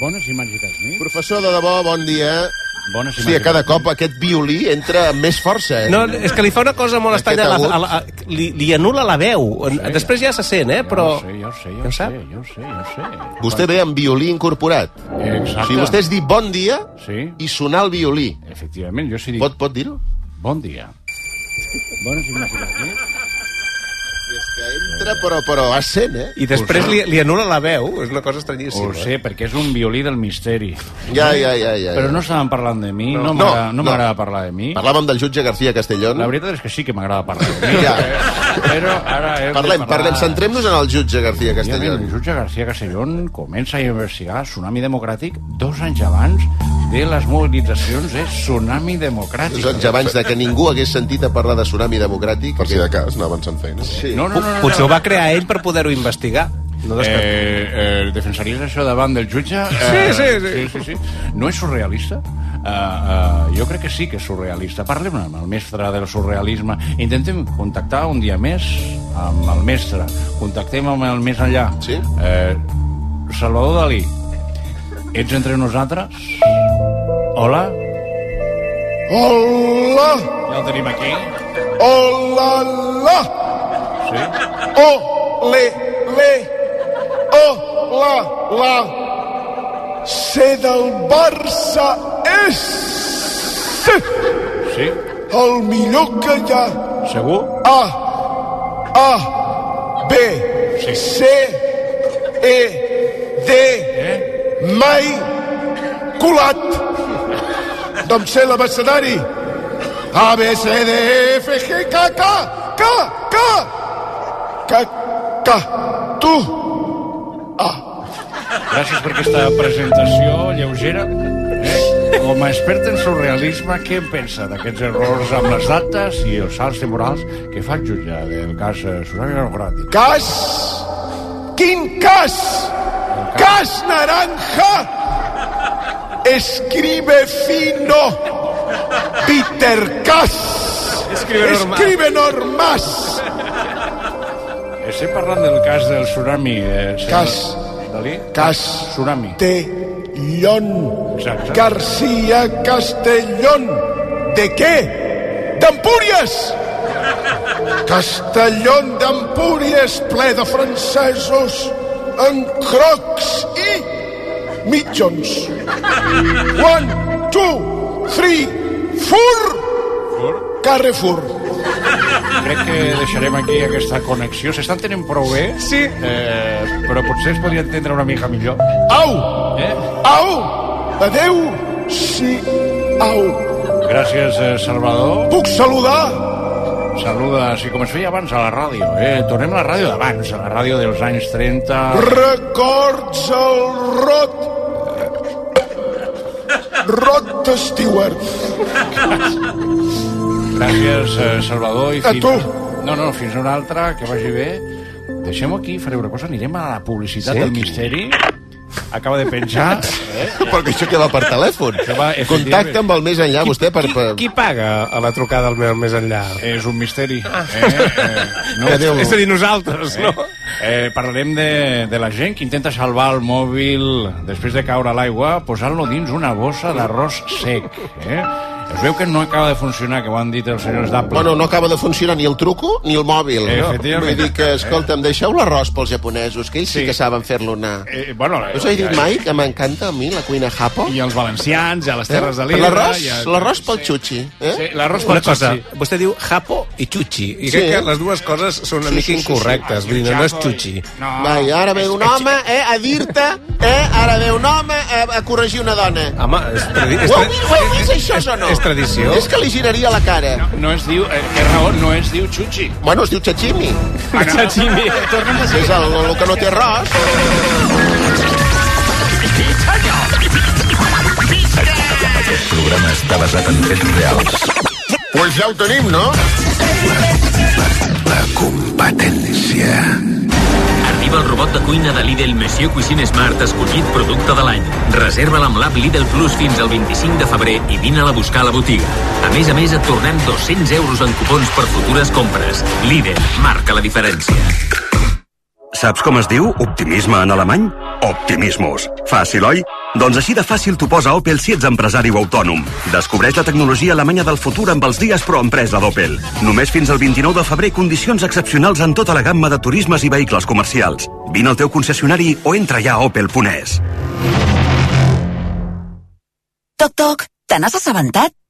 Bones i màgiques nits.
Professor, de debò, bon dia.
Bones i
Hòstia,
màgiques
cada cop aquest violí entra amb més força, eh?
No, és que li fa una cosa molt
Aquest
estranya. a La,
agut.
a la, a, li, li anula la veu. Després ja se sent, eh? Però...
Jo ho sé,
Ja
jo ho
ho
sé,
sap?
jo ho sé, jo ho sé, jo ho sé.
Vostè ve amb violí incorporat.
Exacte.
O sigui, vostè es dir bon dia
Sí.
i sonar el violí.
Efectivament, jo sí dic...
Pot, pot dir-ho?
eh?
Bon dia. Bones i màgiques nits.
Entra, però, però, a 100, eh?
I després li, li anula la veu, és una cosa estranyíssima. eh?
Ho sé, perquè és un violí del misteri.
Ja, ja, ja, ja,
Però
ja.
no estaven parlant de mi,
No.
no,
No,
m'agrada- no
no.
m'agrada parlar de mi.
Parlàvem del jutge García Castellón.
La veritat és que sí que m'agrada parlar de mi.
Ja.
Però ara hem de
Parlem,
parlar-
parlem, centrem-nos en el jutge García
Efectivament,
Castellón.
El jutge García Castellón comença a investigar Tsunami Democràtic dos anys abans de les mobilitzacions de Tsunami Democràtic.
Uns anys Doncs abans de que ningú hagués sentit a parlar de tsunami democràtic. Per si de cas, anaven sent feina. Sí.
No, no, no, no,
Potser
no.
ho va crear ell per poder-ho investigar. No
Eh,
descarto.
eh, defensaries això davant del jutge? Eh,
Sí, sí, sí.
sí, sí, sí. No és surrealista? Uh, uh, jo crec que sí que és surrealista. Parlem amb el mestre del surrealisme. Intentem contactar un dia més amb el mestre. Contactem amb el més enllà.
Sí?
Eh, Salvador Dalí, ets entre nosaltres? Hola?
Hola,
Ja el tenim aquí.
hola, la,
Sí?
o, le, le, o, la, la. Ser del Barça és
Sí?
el millor que hi ha.
Segur?
A, A, B, C, E, D, mai colat. Doncs sé l'abecedari. A, B, C, D, E, F, G, K, K, K, K, K, K, tu.
Gràcies per aquesta presentació lleugera. Eh? Com a expert en surrealisme, què en pensa d'aquests errors amb les dates i els salts temporals que fa el jutge del cas eh, Tsunami Democràtic?
Cas, quin cas? Cas naranja. Escribe fino. Peter Cas.
Escribe normal.
Escribe normas.
Estem parlant del cas del tsunami. Eh, senyor
Cas.
Dalí?
Cas.
Tsunami.
Tellón.
Exacte.
García Castellón. ¿De qué? ¡D'Empúries! Castellón d'Empúries, ple de francesos, en crocs i mitjons. One, two, three, fur! Carrefour.
Crec que deixarem aquí aquesta connexió. S'estan tenint prou bé,
Sí.
eh, però potser es podria entendre una mica millor.
Au!
Eh?
Au! Adeu! Sí, au!
Gràcies, eh, Salvador.
Puc saludar?
Saluda, així com es feia abans a la ràdio. Eh? Tornem a la ràdio d'abans, a la ràdio dels anys 30...
Records el Rod... Rod Stewart.
Gràcies, eh, Salvador. I
A tu.
No, no, fins una altra, que vagi bé. Deixem-ho aquí, faré una cosa, anirem a la publicitat sí? del misteri. Acaba de penjar. Eh?
Perquè això queda per telèfon.
va,
Contacta amb el més enllà, vostè, per... per...
Qui paga a la trucada al meu més enllà?
És un misteri. Eh? Eh? No,
És a dir, nosaltres, no?
Eh, parlarem de, de la gent que intenta salvar el mòbil després de caure a l'aigua posant-lo dins una bossa d'arròs sec. Eh? Es veu que no acaba de funcionar, que ho han dit els senyors d'Apple.
Bueno, no acaba de funcionar ni el truco ni el mòbil.
Eh,
No?
efectivament.
Vull dir que, escolta'm, deixeu l'arròs pels japonesos, que ells sí,
Sí.
que saben fer-lo anar.
eh, bueno,
Us he dit mai que m'encanta a mi la cuina japo?
I els valencians, i a les
Eh?
Terres de
Per
l'Ebre...
L'arròs
i a-
l'arròs pel xutxi. Eh?
Sí, l'arròs pel
Una cosa,
xutxi.
vostè diu japo i chuchi, i crec
Sí.
que les dues coses són una
Sí,
mica
sí, sí, sí.
incorrectes, vull dir, no és chuchi.
No.
Vai, ara ve un home eh, a dir-te, eh, ara ve un home eh, a corregir una dona.
Home, és, tradi és,
Ho heu,
tra-
vist, ho heu vist, això, o no?
és tradició.
És que li giraria la cara.
No es diu... Eh, té raó, no es diu xuxi.
Bueno, es diu Chachimi. És el, el que no té arròs.
Programes basat en fets reals.
Pues ja ho tenim, no?
La competència.
Arriba el robot de cuina de Lidl Monsieur Cuisine Smart escollit producte de l'any. Reserva-la amb l'app Lidl Plus fins al 25 de febrer i vine-la a buscar a la botiga. A més a més, et tornem 200 euros en cupons per futures compres. Lidl, marca la diferència.
Saps com es diu optimisme en alemany? Optimismus. Fàcil, oi? Doncs així de fàcil t'ho posa Opel si ets empresari o autònom. Descobreix la tecnologia alemanya del futur amb els dies pro empresa d'Opel. Només fins al 29 de febrer condicions excepcionals en tota la gamma de turismes i vehicles comercials. Vine al teu concessionari o entra ja a Opel Ponés.
Toc, toc, te n'has assabentat?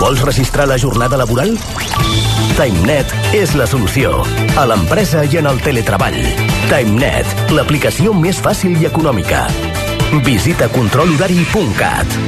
Vols registrar la jornada laboral? TimeNet és la solució. A l'empresa i en el teletreball. TimeNet, l'aplicació més fàcil i econòmica. Visita controlhorari.cat.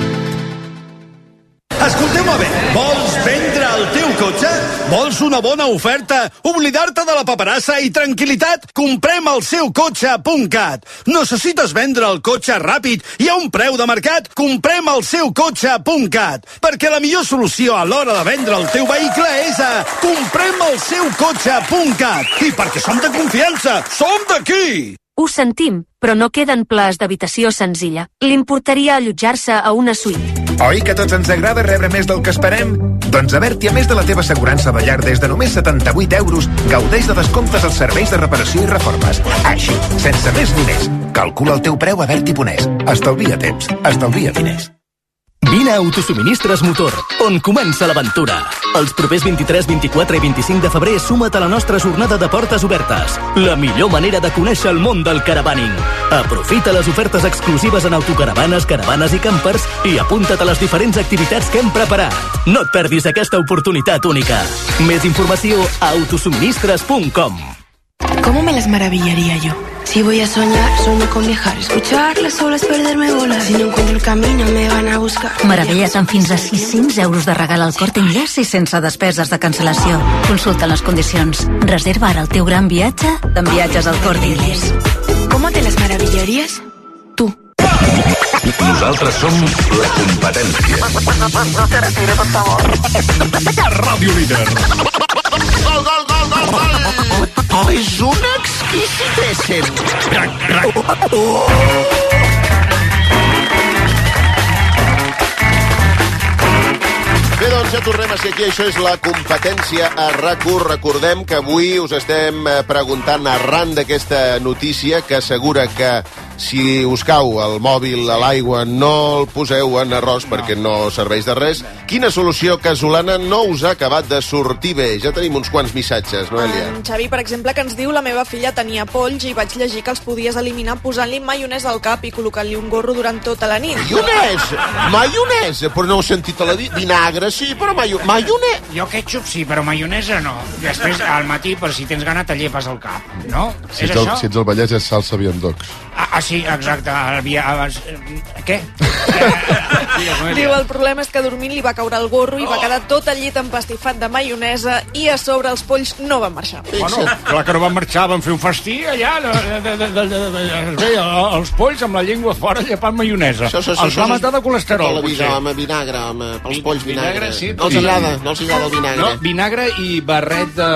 Escolteu-me bé, vols vendre el teu cotxe? Vols una bona oferta? Oblidar-te de la paperassa i tranquil·litat? Comprem el seu cotxe.cat. Necessites vendre el cotxe ràpid i a un preu de mercat? Comprem el seu cotxe.cat. Perquè la millor solució a l'hora de vendre el teu vehicle és a comprem el seu cotxe.cat. I perquè som de confiança, som d'aquí!
Ho sentim, però no queden plans d'habitació senzilla. L'importaria allotjar-se a una suite.
Oi que a tots ens agrada rebre més del que esperem? Doncs a Berti, a més de la teva assegurança de llar des de només 78 euros, gaudeix de descomptes als serveis de reparació i reformes. Així, sense més ni més. Calcula el teu preu a Berti Ponés. Estalvia temps, estalvia diners.
Vine a Autosuministres Motor, on comença l'aventura. Els propers 23, 24 i 25 de febrer suma't a la nostra jornada de portes obertes. La millor manera de conèixer el món del caravaning. Aprofita les ofertes exclusives en autocaravanes, caravanes i campers i apunta't a les diferents activitats que hem preparat. No et perdis aquesta oportunitat única. Més informació a autosuministres.com
¿Cómo me las maravillaría yo? Si voy a soñar, sueño con viajar, escuchar las olas, perderme volar. Si no encuentro el camino, me van a buscar.
Meravelles amb fins a 600 euros de regal al Corte Inglés i sense despeses de cancel·lació. Consulta les condicions. Reserva ara el teu gran viatge amb viatges al Corte Inglés.
¿Cómo te las maravillarías?
Nosaltres som la competència. Ràdio Líder.
Gol, gol, gol, gol, gol! Oh, és una exquisitessa. Bé, doncs ja tornem a ser aquí. Això és la competència a rac Recordem que avui us estem eh, preguntant arran d'aquesta notícia que assegura que si us cau el mòbil a l'aigua no el poseu en arròs perquè no serveix de res. Quina solució casolana no us ha acabat de sortir bé? Ja tenim uns quants missatges, Noelia.
En Xavi, per exemple, que ens diu la meva filla tenia polls i vaig llegir que els podies eliminar posant-li maionesa al cap i col·locant-li un gorro durant tota la nit.
Maionesa! Maionesa! Però no ho he sentit a la di... Vinagre, sí, però maio... maionesa...
Jo ketchup sí, però maionesa no. Després, al matí, per si tens gana, te llepes el cap, no?
Si ets, el, si ets el Vallès és salsa viandocs.
Ah, ah, sí, exacte. El via... abans- Què?
Diu, el problema és que dormint li va caure el gorro
Oh.
i va quedar tot el llit empastifat de maionesa i a sobre els polls no van marxar.
Oh,
Bueno, clar que no van marxar, van fer un festí allà, de, de, de, de, de, de, es veia els polls amb la llengua fora llepant maionesa.
Això, això,
els
això,
va
això és
matar de colesterol,
tota la vida,
potser.
home, vinagre, home, pels polls, vinagre.
Vinagre, sí.
No els agrada, no els agrada el vinagre.
No, vinagre i barret de...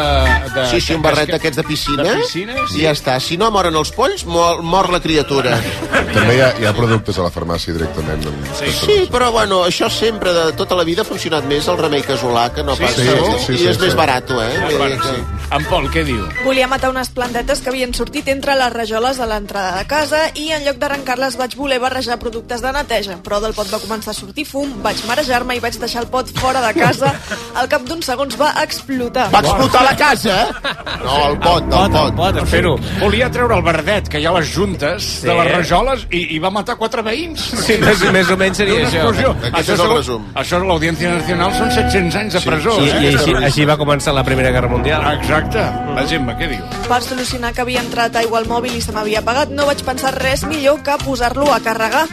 de
Sí, sí, un barret d'aquests de piscina.
De piscina,
I
sí.
ja està. Si no moren els polls, mor, mor la criatura.
També hi ha, hi ha productes a la farmàcia directament.
Sí. sí, però bueno, això sempre de tota la vida ha funcionat més el remei casolà que no
Sí,
pas
sí,
segur,
sí, sí,
i és
sí,
més
sí.
barat, eh?
Més
Vull dir
barat,
que-
sí.
En Pol, què diu?
Volia matar unes plantetes que havien sortit entre les rajoles de l'entrada de casa i en lloc d'arrencar-les vaig voler barrejar productes de neteja, però del pot va començar a sortir fum, vaig marejar-me i vaig deixar el pot fora de casa. Al cap d'uns segons va explotar.
Va explotar la casa? eh? No, el pot, el pot. El pot,
Però volia treure el verdet que hi ha a les juntes sí. de les rajoles i, i va matar quatre veïns.
Sí, més, més o menys seria
D'una
això.
explosió.
Aquest
Això
és el
segon-
resum.
Això a l'Audiència Nacional són 700 anys de presó.
I,
eh?
i així, així va començar la Primera Guerra Mundial.
Exacte. La Gemma, què diu?
Per solucionar que havia entrat aigua al mòbil i se m'havia apagat, no vaig pensar res millor que posar-lo a carregar.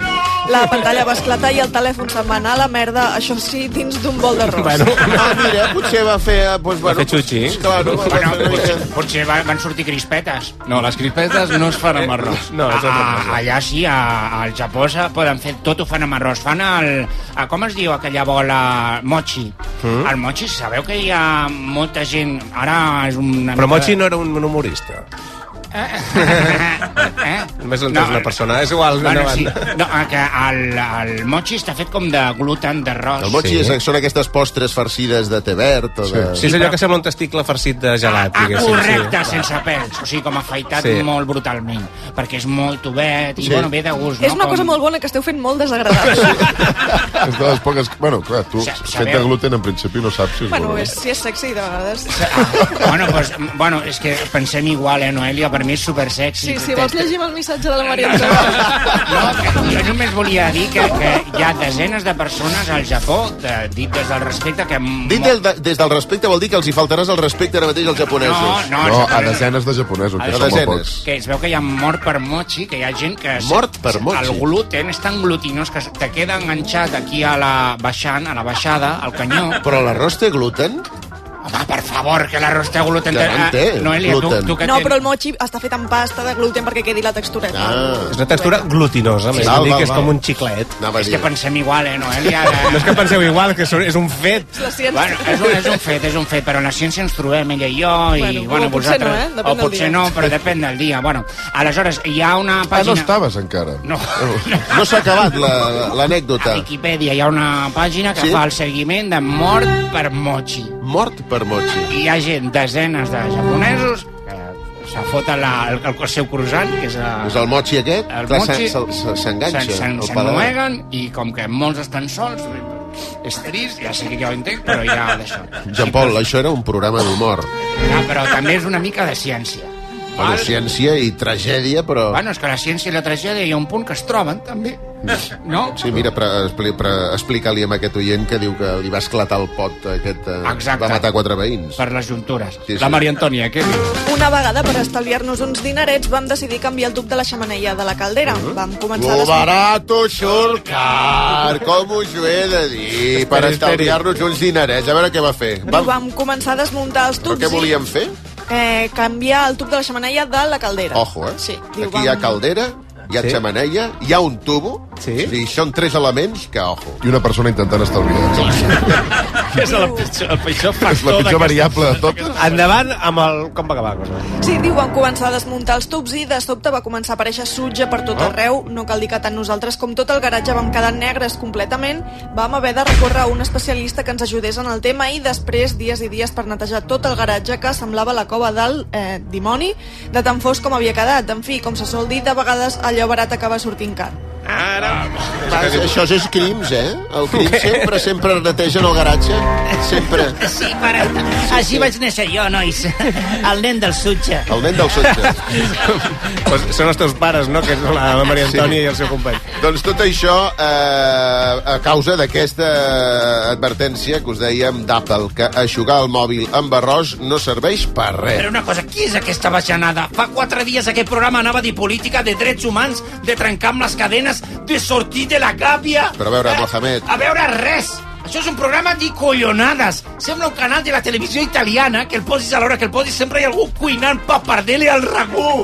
La pantalla va esclatar i el telèfon se'n va anar a la merda, això sí, dins d'un bol d'arròs.
Ah, mira, potser va fer... eh, Doncs, bueno,
fer xuxi.
Claro, va fer una mica...
Potser, potser va- van sortir crispetes.
No, les crispetes no es
Eh,
fan amb arròs. Ah,
No,
es fan amb arròs.
allà sí, a, al Japó se poden fer tot, ho fan amb arròs. Fan el... A, com es diu aquella bola? Mochi. Mm? El mochi, sabeu que hi ha molta gent... Ara és una...
Però
mica-
Mochi no era un, un humorista.
Eh?
Només l'entens no, una persona, és igual.
Bueno,
endavant.
sí. No, eh, que el, el mochi està fet com de gluten d'arròs.
El mochi sí. són aquestes postres farcides de té verd o de...
Sí, és allò que sembla un testicle farcit de gelat,
Ah,
diguéssim.
correcte, sí. sense pèls. O sigui, com afaitat sí.
Sí.
molt brutalment. Perquè és molt obert i
Sí.
sí. bueno, ve de gust.
És
no?
una
Com-
cosa molt bona que esteu fent molt desagradable.
És de les poques... Bueno, clar, tu, fet de gluten, en principi, no saps si és
bueno,
bueno.
és, si és sexy, de vegades.
Bueno, pues, bueno, és que pensem igual, eh, Noelia? Per mi és supersexy.
Sí, si vols llegir el missatge de la Maria
Jo només volia dir que, que hi ha desenes de persones al Japó, de, dit des del respecte, que...
Dit del, des del respecte vol dir que els hi faltaràs el respecte ara mateix als japonesos.
No, no,
a desenes de japonesos, que
A
són molt
desenes.
pocs.
que es veu que hi ha mort per mochi, que hi ha gent que...
Mort per mochi.
El gluten és tan glutinós que te queda enganxat aquí a la baixant, a la baixada, al canyó.
Però l'arròs té gluten?
Home, per favor, que l'arròs té gluten.
Que no en té,
Ah, Noelia,
gluten.
tu, tu que
No,
tens-
però el mochi està fet amb pasta de gluten perquè quedi la textureta.
Ah.
És una textura glutinosa, més. Val,
Val,
val,
val,
és
val.
com un xiclet.
Anava a
És que
dir.
pensem igual, eh, Noelia?
No és que penseu igual, que són- és un fet.
La ciència.
Bueno, eh. és un, és un fet, és un fet, però en la ciència ens trobem, ella i jo, i
Bueno,
bueno,
o
bueno
potser no,
vosaltres...
eh? Depèn
o
del
potser
dia.
no, però depèn del dia. Bueno, aleshores, hi ha una
Ah, no
pàgina...
estaves encara.
No.
No s'ha acabat la- l'anècdota.
A Wikipedia hi ha una pàgina que
Sí?
sí? fa el seguiment de mort per mochi.
Mort per mochi.
I hi ha gent, desenes de japonesos, que se foten la, el, el, seu croissant, que és... A,
És el mochi aquest,
Ah. el
clar,
mochi,
s'en- s'en- s'enganxa
s'en-
al
s'en-
paladar.
S'ennueguen i com que molts estan sols, doncs, és trist, ja sé que jo ho entenc, però ja d'això.
Jean Paul, això era un programa d'humor.
Ja, però també és una mica de ciència.
Bueno, ciència i tragèdia, però...
Bueno, és que la ciència i la tragèdia hi ha un punt que es troben, també. No?
Sí, mira, pre, expli, pre, explica-li a aquest oient que diu que li va esclatar el pot aquest... Eh,
Exacte.
Va matar quatre veïns.
Per les juntures.
Sí, sí. La
Maria Antònia, què dius?
Una vegada, per estalviar-nos uns dinerets, vam decidir canviar el tub de la xemeneia de la caldera.
Ah.
Vam començar... a
Lo
des-
barato surt car, com us ho he de dir, per
esperi.
estalviar-nos uns dinerets. A veure què va fer.
Ho
Va,
vam començar a desmuntar els
però
tubs
què volíem fer?
i eh, canviar el tub de la xemeneia de la caldera.
Ojo, eh?
Sí, diu,
Aquí hi ha caldera, hi ha
Sí.
xemeneia, hi ha un tubo, sí. i són tres elements que, ojo.
I una persona intentant estalviar.
És la pitjor, el pitjor
És la pitjor variable de totes.
Endavant amb el... Com va acabar la cosa?
Sí, diu, vam començar a desmuntar els tubs i de sobte va començar a aparèixer sutge per tot arreu. No cal dir que tant nosaltres com tot el garatge vam quedar negres completament. Vam haver de recórrer a un especialista que ens ajudés en el tema i després dies i dies per netejar tot el garatge que semblava la cova del eh, dimoni de tan fos com havia quedat. En fi, com se sol dir, de vegades allò barat acaba sortint car.
Ara... Va, això és crims, eh? El crim sempre, sempre netegen el garatge. Sempre.
Sí, pare. Així vaig néixer jo, nois. El nen del sutge.
El nen del sotge.
pues són els teus pares, no? Que és la, la Maria Antònia sí. i el seu company.
Doncs tot això eh, a causa d'aquesta advertència que us dèiem d'Apple, que aixugar el mòbil amb arròs no serveix per
Però
res.
una cosa, qui és aquesta bajanada? Fa quatre dies aquest programa anava de política, de drets humans, de trencar amb les cadenes, de sortir de la gàbia...
Però a veure, Mohamed...
A veure, res! Això és un programa d'collonades. Sembla un canal de la televisió italiana que el posis a l'hora que el posis sempre hi ha algú cuinant papardelle al ragú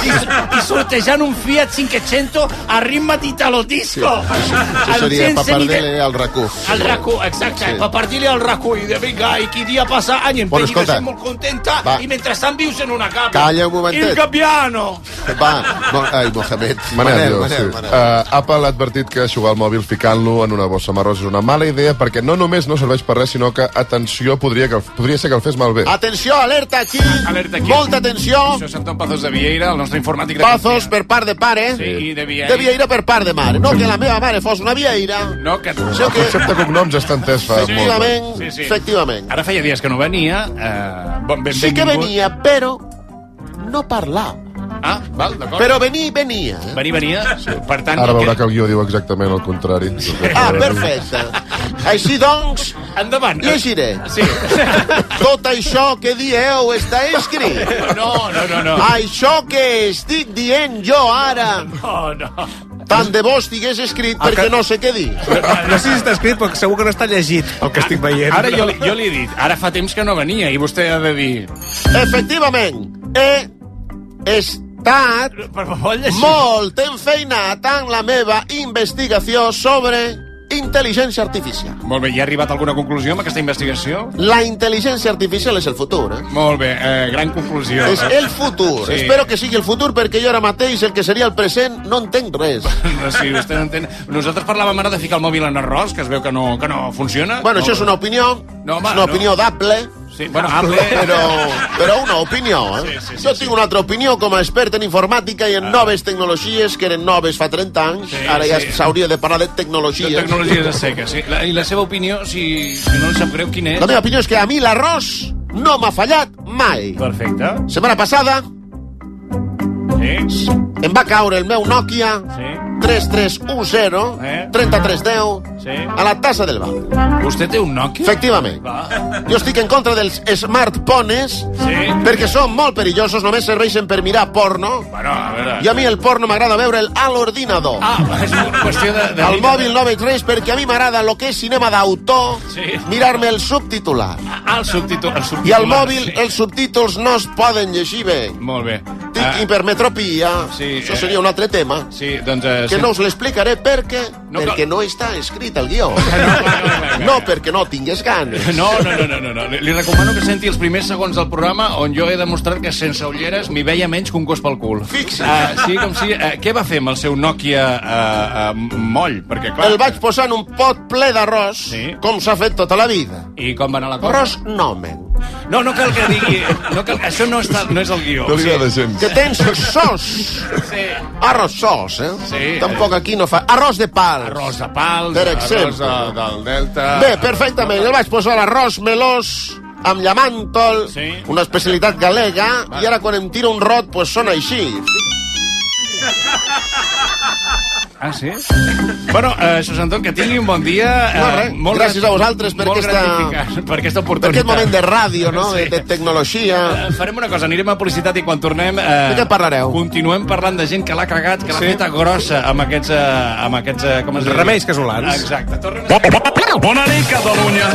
i, i sortejant un Fiat 500 a ritme d'Italo Disco.
Això
Amb
seria
gent
papardele
semide-
al racó.
al racó, exacte,
Sí.
sí. papardile al racó i de vinga, i qui dia passa any em
Bueno,
bueno,
escolta.
escolta, molt contenta
Va.
i mentrestant vius en una capa.
Calla un momentet.
Il gabbiano.
Va, mo ai, Mohamed.
Manel,
Manel,
jo,
Manel,
sí.
Manel.
Uh, Apple ha advertit que aixugar el mòbil ficant-lo en una bossa marró és una mala idea perquè no només no serveix per res, sinó que, atenció, podria, que, podria ser que el fes malbé.
Atenció, alerta aquí.
Alerta aquí.
Molta atenció.
Això és Anton Pazos de Vieira, el nostre informàtic de
Pazos per part de pare.
Sí, i de Vieira.
De Vieira per part de mare. No que la meva mare fos una Vieira.
No, que...
Això
El
que...
concepte de cognoms està entès fa molt. bé.
Efectivament,
Sí, sí.
efectivament.
Ara feia dies que no venia. Eh, bon, ben,
Sí que
benvingut.
venia, però no parlava.
Ah, val, d'acord.
Però venir, venia. eh?
Venir, venia. Per tant,
Ara
el
veurà que el guió diu exactament el contrari.
Ah, perfecte. Així doncs...
Endavant.
Llegiré. Sí. Tot això que dieu està escrit.
No, no, no, no.
Això que estic dient jo ara...
No, no.
Tant de bo estigués escrit
El
perquè
que-
no sé què dir.
No sé si està escrit, però segur que no està llegit el que estic veient.
Ara jo, li- jo li he dit, ara fa temps que no venia i vostè ha de dir...
Efectivament, he estat molt enfeinat en la meva investigació sobre intel·ligència artificial.
Molt bé, hi ha arribat alguna conclusió amb aquesta investigació?
La intel·ligència artificial és el futur, eh?
Molt bé, eh, gran conclusió.
És el futur.
Sí.
Espero que sigui el futur perquè jo ara mateix el que seria el present no entenc res.
Sí, vostè no entén. Nosaltres parlàvem ara de ficar el mòbil en arròs, que es veu que no, que no funciona.
Bueno, això és una opinió,
No, home,
és una
no.
opinió d'Apple,
Sí, bueno, Apple... eh.
però, però una opinió, eh? Sí, sí, jo tinc una altra opinió com a expert en informàtica i en noves tecnologies, que eren noves fa 30
Ah.
anys,
Sí,
ara ja
sí.
s'hauria de parlar de tecnologies.
De tecnologies a seques, sí. La, I la seva opinió, si, si no li sap greu, quina és?
La meva opinió és que a mi l'arròs no m'ha fallat mai.
Perfecte.
Setmana passada
sí.
em va caure el meu Nokia sí. 3310 3310
Eh. Sí.
a la tassa del banc.
Vostè té un Nokia?
Efectivament. Jo estic en contra dels smartphones sí. perquè són molt perillosos, només serveixen per mirar porno.
Bueno, a veure...
I a mi el porno m'agrada veure'l a l'ordinador.
Ah, és una qüestió de... de
Al mòbil no veig res perquè a mi m'agrada lo que és cinema d'autor,
Sí.
mirar-me el subtitular.
Ah, el subtítol. El subtítol
I al mòbil els subtítols no es poden llegir bé.
Molt bé.
Tinc ah. hipermetropia, sí, això seria un altre tema,
eh. sí, doncs, eh,
que
sí.
no us l'explicaré perquè no, perquè no està escrit el guió. No, perquè no tingués ganes.
No, no, no, no, no, no. Li- Li recomano que senti els primers segons del programa on jo he demostrat que sense ulleres m'hi veia menys que un gos pel cul.
Fixi.
Ah, sí, com si... eh, què va fer amb el seu Nokia eh, eh, moll? Perquè, clar...
El vaig posar en un pot ple d'arròs, sí. com s'ha fet tota la vida.
I com va anar la cosa?
Arròs nomen.
No, no cal que digui... No cal... Això no, està, no és el guió.
No li agrada
gens.
Que tens sos.
Sí.
Arròs sos, eh?
Sí.
Tampoc aquí no fa... Arròs de pals.
Arròs de pals,
Per
arròs
exemple.
de, del Delta...
Bé, perfectament. El vaig posar arròs melós amb llamàntol, sí. una especialitat galega, i ara quan em tira un rot, pues sona així.
Ah, sí? Bueno, eh, José Anton, que tingui un bon dia. Eh,
No, res. Gràcies a vosaltres per
molt
aquesta-
gratificant, per aquesta
Per
oportunitat.
aquest moment de ràdio, no?, sí. de, de tecnologia...
Eh, Farem una cosa, anirem a publicitat i quan tornem... Eh,
De què parlareu?
Continuem parlant de gent que l'ha cagat, que l'ha sí. feta grossa amb aquests... Eh, amb aquests eh, com es diu?
Remeis casolans.
Exacte. Tornem... Bona nit, Catalunya!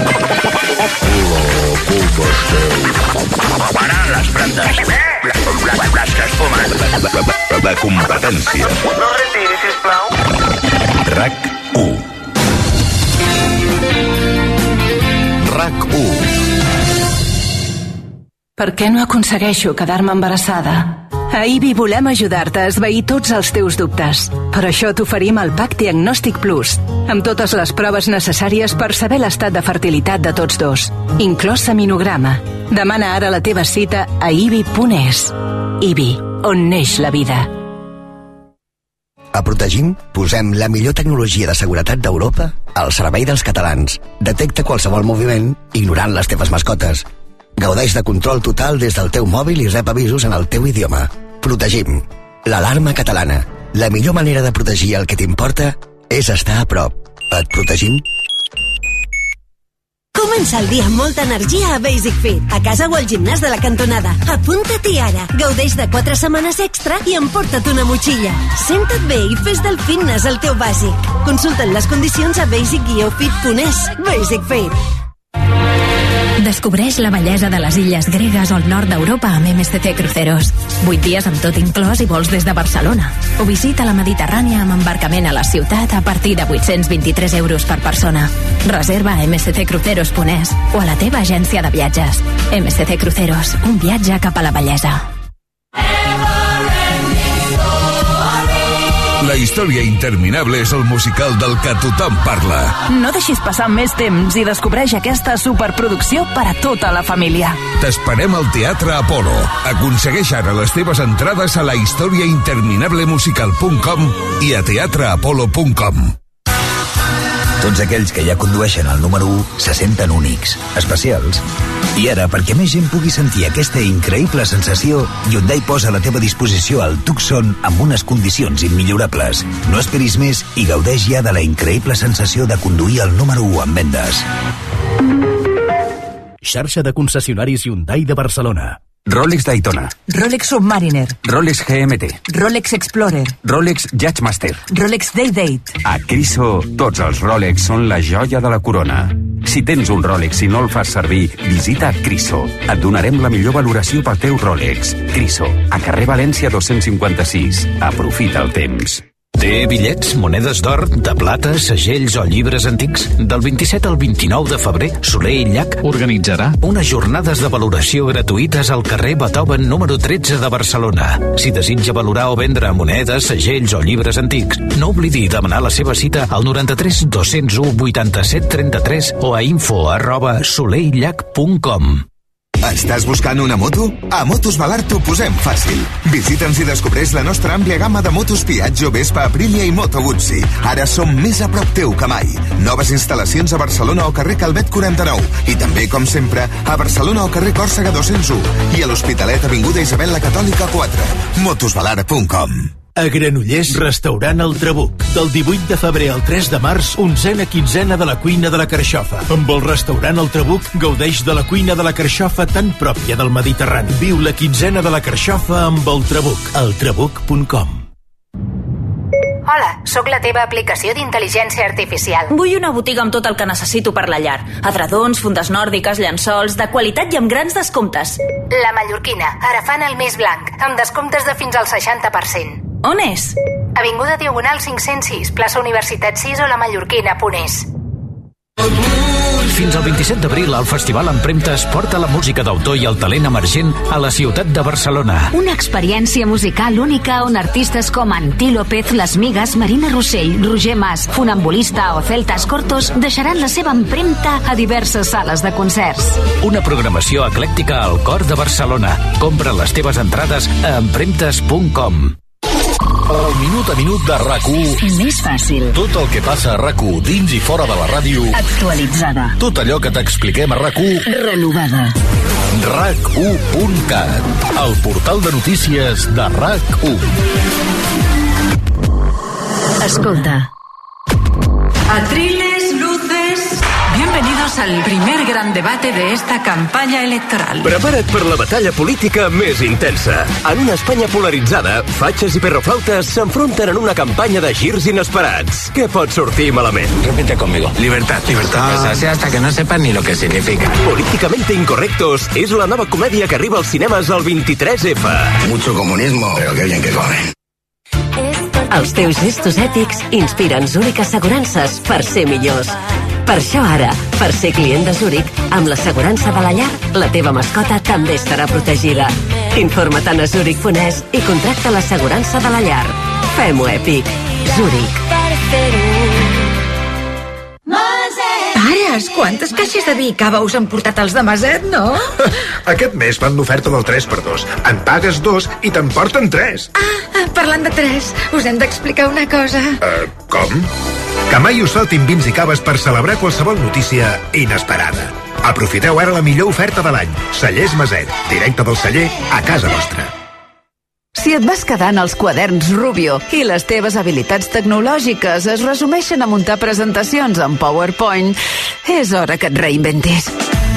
Parar les brandes. Les que es fumen.
La competència.
No retiri, sisplau.
RAC1. RAC1.
Per què no aconsegueixo quedar-me embarassada? A IBI volem ajudar-te a esvair tots els teus dubtes. Per això t'oferim el PAC Diagnòstic Plus, amb totes les proves necessàries per saber l'estat de fertilitat de tots dos, inclòs seminograma. Demana ara la teva cita a ibi.es. IBI, on neix la vida.
A Protegim posem la millor tecnologia de seguretat d'Europa al servei dels catalans. Detecta qualsevol moviment ignorant les teves mascotes. Gaudeix de control total des del teu mòbil i rep avisos en el teu idioma. Protegim. L'alarma catalana. La millor manera de protegir el que t'importa és estar a prop. Et protegim?
Comença el dia amb molta energia a Basic Fit, a casa o al gimnàs de la cantonada. Apunta-t'hi ara, gaudeix de 4 setmanes extra i emporta't una motxilla. Senta't bé i fes del fitness el teu bàsic. Consulta't les condicions a basic-fit.es. Basic Fit.
Descobreix la bellesa de les illes gregues al nord d'Europa amb MSC Cruceros. 8 dies amb tot inclòs i vols des de Barcelona. O visita la Mediterrània amb embarcament a la ciutat a partir de 823 euros per persona. Reserva a msccruceros.es o a la teva agència de viatges. MSC Cruceros, un viatge cap a la bellesa.
La història interminable és el musical del que tothom parla.
No deixis passar més temps i descobreix aquesta superproducció per a tota la família.
T'esperem al Teatre Apolo. Aconsegueix ara les teves entrades a la història interminable musical.com i a teatreapolo.com.
Tots aquells que ja condueixen el número 1 se senten únics, especials. I ara, perquè més gent pugui sentir aquesta increïble sensació, Hyundai posa a la teva disposició el Tucson amb unes condicions immillorables. No esperis més i gaudeix ja de la increïble sensació de conduir el número 1 en vendes.
Xarxa de concessionaris Hyundai de Barcelona.
Rolex Daytona,
Rolex Submariner,
Rolex GMT,
Rolex Explorer,
Rolex Judgemaster.
Rolex Day Date.
A Criso, tots els Rolex són la joia de la corona. Si tens un Rolex i no el fas servir, visita Criso. Et donarem la millor valoració pel teu Rolex. Criso, a carrer València 256. Aprofita el temps.
Té bitllets, monedes d'or, de plata, segells o llibres antics? Del 27 al 29 de febrer, Soler i Llach organitzarà unes jornades de valoració gratuïtes al carrer Beethoven número 13 de Barcelona. Si desitja valorar o vendre monedes, segells o llibres antics, no oblidi demanar la seva cita al 93 201 87 33 o a info arroba soleillac.com.
Estàs buscant una moto? A Motos Balar t'ho posem fàcil. Visita'ns i descobreix la nostra àmplia gamma de motos Piaggio, Vespa, Aprilia i Moto Guzzi. Ara som més a prop teu que mai. Noves instal·lacions a Barcelona o carrer Calvet 49 i també, com sempre, a Barcelona o carrer Còrsega 201 i a l'Hospitalet Avinguda Isabel la Catòlica 4. motosbalar.com
A Granollers, restaurant El Trabuc. Del 18 de febrer al 3 de març, onzena quinzena de la cuina de la carxofa. Amb el restaurant El Trabuc, gaudeix de la cuina de la carxofa tan pròpia del Mediterrani. Viu la quinzena de la carxofa amb El Trabuc. eltrabuc.com
Hola, sóc la teva aplicació d'intel·ligència artificial.
Vull una botiga amb tot el que necessito per la llar. Adredons, fundes nòrdiques, llençols, de qualitat i amb grans descomptes.
La mallorquina, ara fan el més blanc, amb descomptes de fins al 60%.
On és?
Avinguda Diagonal 506, plaça Universitat 6 o la mallorquina, Ponés.
Fins al 27 d'abril, el Festival Empremtes porta la música d'autor i el talent emergent a la ciutat de Barcelona.
Una experiència musical única on artistes com Antí López, Les Migues, Marina Rossell, Roger Mas, Funambulista o Celtas Cortos deixaran la seva empremta a diverses sales de concerts.
Una programació eclèctica al cor de Barcelona. Compra les teves entrades a empremtes.com.
El minut a minut de RAC1.
Més fàcil.
Tot el que passa a RAC1 dins i fora de la ràdio.
Actualitzada.
Tot allò que t'expliquem a RAC1.
Renovada.
RAC1.cat. El portal de notícies de RAC1.
Escolta. Atriles, luces. Bienvenidos al primer gran debate de esta campaña electoral.
Prepara't per la batalla política més intensa. En una Espanya polaritzada, fatxes i perroflautes s'enfronten en una campanya de girs inesperats. Què pot sortir malament? Repite conmigo. Libertad, libertad. hasta que no sepan ni lo que significa. Políticamente Incorrectos és la nova comèdia que arriba als cinemes el 23F. Mucho comunismo, pero qué bien que comen.
Els teus gestos ètics inspiren Zurich Assegurances per ser millors. Per això ara, per ser client de Zurich, amb l'assegurança de la llar, la teva mascota també estarà protegida. Informa-te'n a Zurich Fonès i contracta l'assegurança de la llar. Fem-ho èpic. Zurich.
Pares, quantes caixes de vi i cava us han portat els de Maset, no?
Aquest mes fan l'oferta del 3x2. En pagues dos i te'n porten tres.
Ah, Parlant de tres, us hem d'explicar una cosa.
Eh,
Uh, com? Que mai us saltin vins i caves per celebrar qualsevol notícia inesperada. Aprofiteu ara la millor oferta de l'any. Cellers Maset, directe del celler a casa vostra.
Si et vas quedant els quaderns Rubio i les teves habilitats tecnològiques es resumeixen a muntar presentacions en PowerPoint, és hora que et reinventis.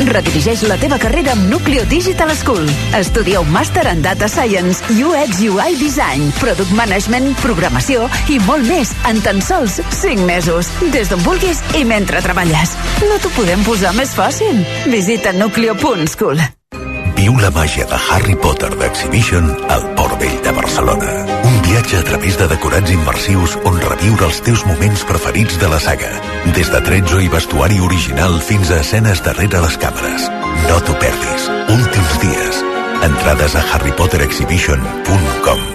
Redirigeix la teva carrera amb Nucleo Digital School. Estudia un màster en Data Science, UX UI Design, Product Management, Programació i molt més en tan sols 5 mesos, des d'on vulguis i mentre treballes. No t'ho podem posar més fàcil. Visita nucleo.school.
Viu la màgia de Harry Potter d'Exhibition al Port Vell de Barcelona. Un viatge a través de decorats immersius on reviure els teus moments preferits de la saga. Des de tretzo i vestuari original fins a escenes darrere les càmeres. No t'ho perdis. Últims dies. Entrades a harrypoterexhibition.com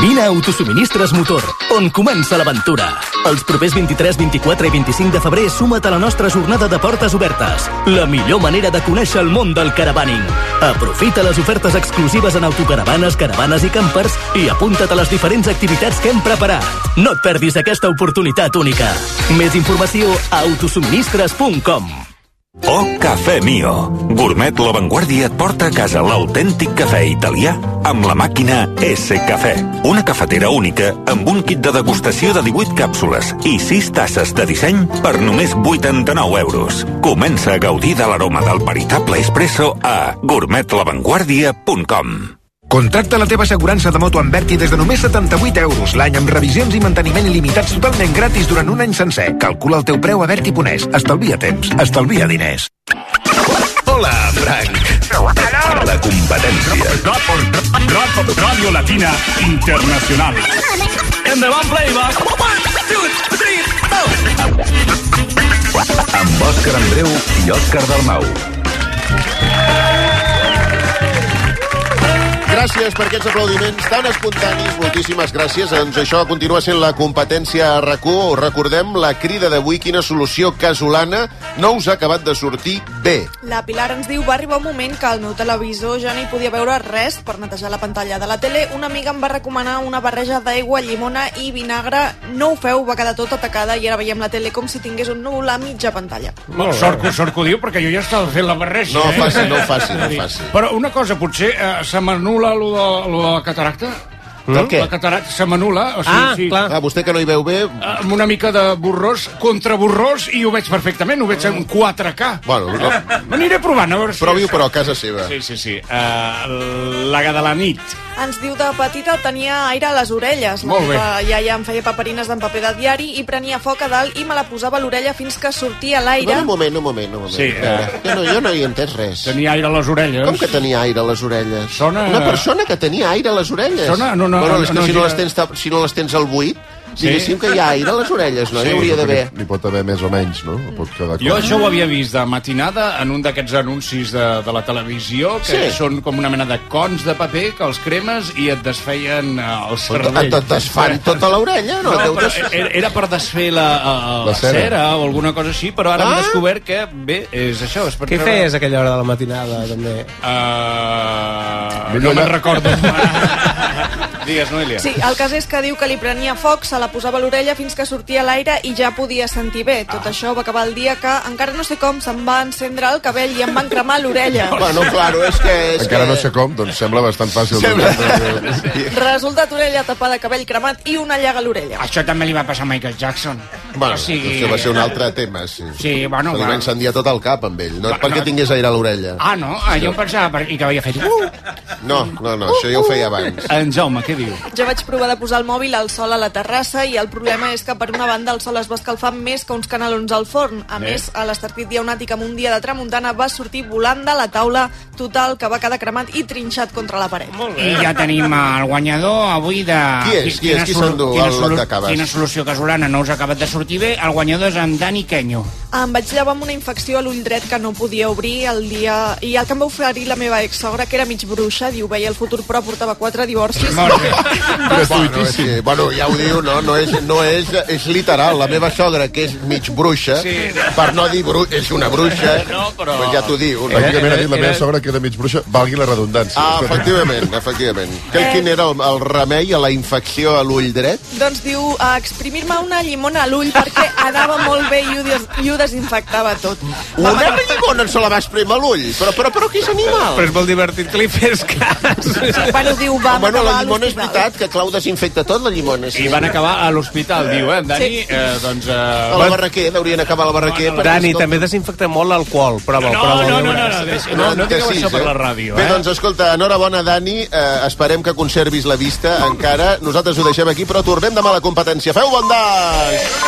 Vine a Autosuministres Motor, on comença l'aventura. Els propers 23, 24 i 25 de febrer suma't a la nostra jornada de portes obertes. La millor manera de conèixer el món del caravaning. Aprofita les ofertes exclusives en autocaravanes, caravanes i campers i apunta't a les diferents activitats que hem preparat. No et perdis aquesta oportunitat única. Més informació a autosuministres.com
Oh, Cafè Mio. Gourmet La Vanguardia et porta a casa l'autèntic cafè italià amb la màquina S Cafè. Una cafetera única amb un kit de degustació de 18 càpsules i 6 tasses de disseny per només 89 euros. Comença a gaudir de l'aroma del veritable espresso a gourmetlavanguardia.com.
Contracta la teva assegurança de moto amb Berti des de només 78 euros l'any amb revisions i manteniment il·limitats totalment gratis durant un any sencer. Calcula el teu preu a Berti Ponès. Estalvia temps. Estalvia diners.
Hola, Frank. La competència.
Ràdio Latina Internacional.
Endavant, playback! One, two, three, four!
Amb Òscar Andreu i Òscar Dalmau.
Gràcies per aquests aplaudiments tan espontanis. Moltíssimes gràcies. Doncs això continua sent la competència a rac Recordem la crida d'avui, quina solució casolana no us ha acabat de sortir bé.
La Pilar ens diu va arribar un moment que al meu televisor ja no hi podia veure res per netejar la pantalla de la tele. Una amiga em va recomanar una barreja d'aigua, llimona i vinagre. No ho feu, va quedar tot atacada i ara veiem la tele com si tingués un núvol a mitja pantalla.
Molt sort, que, sort que ho diu, perquè jo ja estava fent la barreja.
No ho
eh?
faci, no ho faci, no ho faci.
Però una cosa, potser eh, se m'anul·la lo de, lo de la cataracta?
Del Mm? què?
La cataracta se m'anul·la. O sigui,
Ah,
sí.
clar. Ah, vostè que no hi veu bé...
Amb una mica de borrós, contra borrós, i ho veig perfectament, ho veig en 4K.
Bueno, no.
M'aniré provant, a veure si...
Provi-ho, però, a casa seva.
Sí, sí, sí. Uh, la de la nit.
Ens diu de petita tenia aire a les orelles.
Molt bé.
La meva iaia em feia paperines d'en paper de diari i prenia foc a dalt i me la posava a l'orella fins que sortia l'aire.
Un moment, un moment, un moment.
Sí, eh.
jo, no, jo no hi he entès res.
Tenia aire a les orelles.
Com que tenia aire a les orelles?
Sona...
Una persona que tenia aire a les orelles.
Sona- no, no,
bueno,
no,
és que
no
si, no
gira.
les tens, ta- si no les tens al buit,
Sí.
diguéssim que hi ha aire a les orelles, no?
Sí.
Hi hauria d'haver...
N'hi pot haver més o menys, no? Pot quedar
Jo això ho havia vist de matinada en un d'aquests anuncis de, de la televisió que
Sí.
són com una mena de cons de paper que els cremes i et desfeien eh, el cervell.
Et- et desfan tota l'orella, no? Deu
però
des-
era, era per desfer la, eh,
La
la,
cera.
cera. o alguna cosa així, però ara ah?
Ah.
hem descobert que, bé, és això. És per
Què feies a aquella hora de la matinada, també?
Uh, no me'n recordo. Digues, Noelia.
Sí, el cas és que diu que li prenia foc, se la posava a l'orella fins que sortia l'aire i ja podia sentir bé. Tot això va acabar el dia que, encara no sé com, se'm va encendre el cabell i em van cremar l'orella.
Bueno, claro, és que... És
Encara
que...
no sé com, doncs sembla bastant fàcil. Sembla...
Resultat orella tapada, cabell cremat i una llaga a l'orella.
Això també li va passar a Michael Jackson.
Bueno,
O
doncs
sigui-
això va ser un altre tema, sí.
Sí, bueno,
Se Li va
va.
incendiar tot el cap amb ell, no
Va,
perquè
no.
tingués aire a l'orella.
Ah, no? Ah, jo em pensava per... i que havia fet... Uh!
No, no, no, això ja ho feia abans.
En Jaume, què diu?
Jo vaig provar de posar el mòbil al sol a la terrassa i el problema és que per una banda el sol es va escalfar més que uns canelons al forn. A
Bé.
més, a l'estartit diaunàtic amb un dia de tramuntana va sortir volant de la taula total que va quedar cremat i trinxat contra la paret. Molt
I ja tenim el guanyador avui de...
Qui és? Qui és? Qui
solu-
s'endú
quina
el lot
solu-
de cabes?
Quina solució casolana no us ha acabat de sortir bé. El guanyador és en Dani Kenyo.
Em vaig llevar amb una infecció a l'ull dret que no podia obrir el dia... I el que em va oferir la meva exsogra, que era mig bruixa, diu, veia el futur però portava quatre divorcis.
Bueno, és que, bueno, ja ho diu, no? No és, no és, és literal. La meva sogra, que és mig bruixa, sí. per no dir bru és una bruixa,
Eh,
no, però... pues ja t'ho diu. No?
Pràcticament ha dit la meva sogra que Eh, era mig bruixa, valgui la redundància.
Ah, efectivament, efectivament. Que, Eh. quin era el, el remei a la infecció a l'ull dret?
Doncs diu, a exprimir-me una llimona a l'ull perquè anava molt bé i ho, des i ho desinfectava tot. Va
Una
matar-
llimona se la va esprémer a l'ull. Però, però, però qui és animal?
Però és molt divertit que li fes cas.
Bueno, diu, va,
Ah, bueno,
acabar
la
a
llimona és veritat, que Clau desinfecta tot, la llimona. Sí.
I van acabar a l'hospital, diu, eh, en Dani?
Sí.
Eh, doncs... Eh,
A la Barraquer, deurien acabar a la Barraquer. perquè,
Dani,
escolta,
també desinfecta molt l'alcohol. Prova,
No,
prova,
no,
ja
no, no,
veuràs.
no, deixa- no, no digueu això per la ràdio,
Bé,
eh?
doncs, escolta, enhorabona, Dani. Eh, esperem que conservis la vista encara. Nosaltres ho deixem aquí, però tornem demà a la competència. Feu bon dans!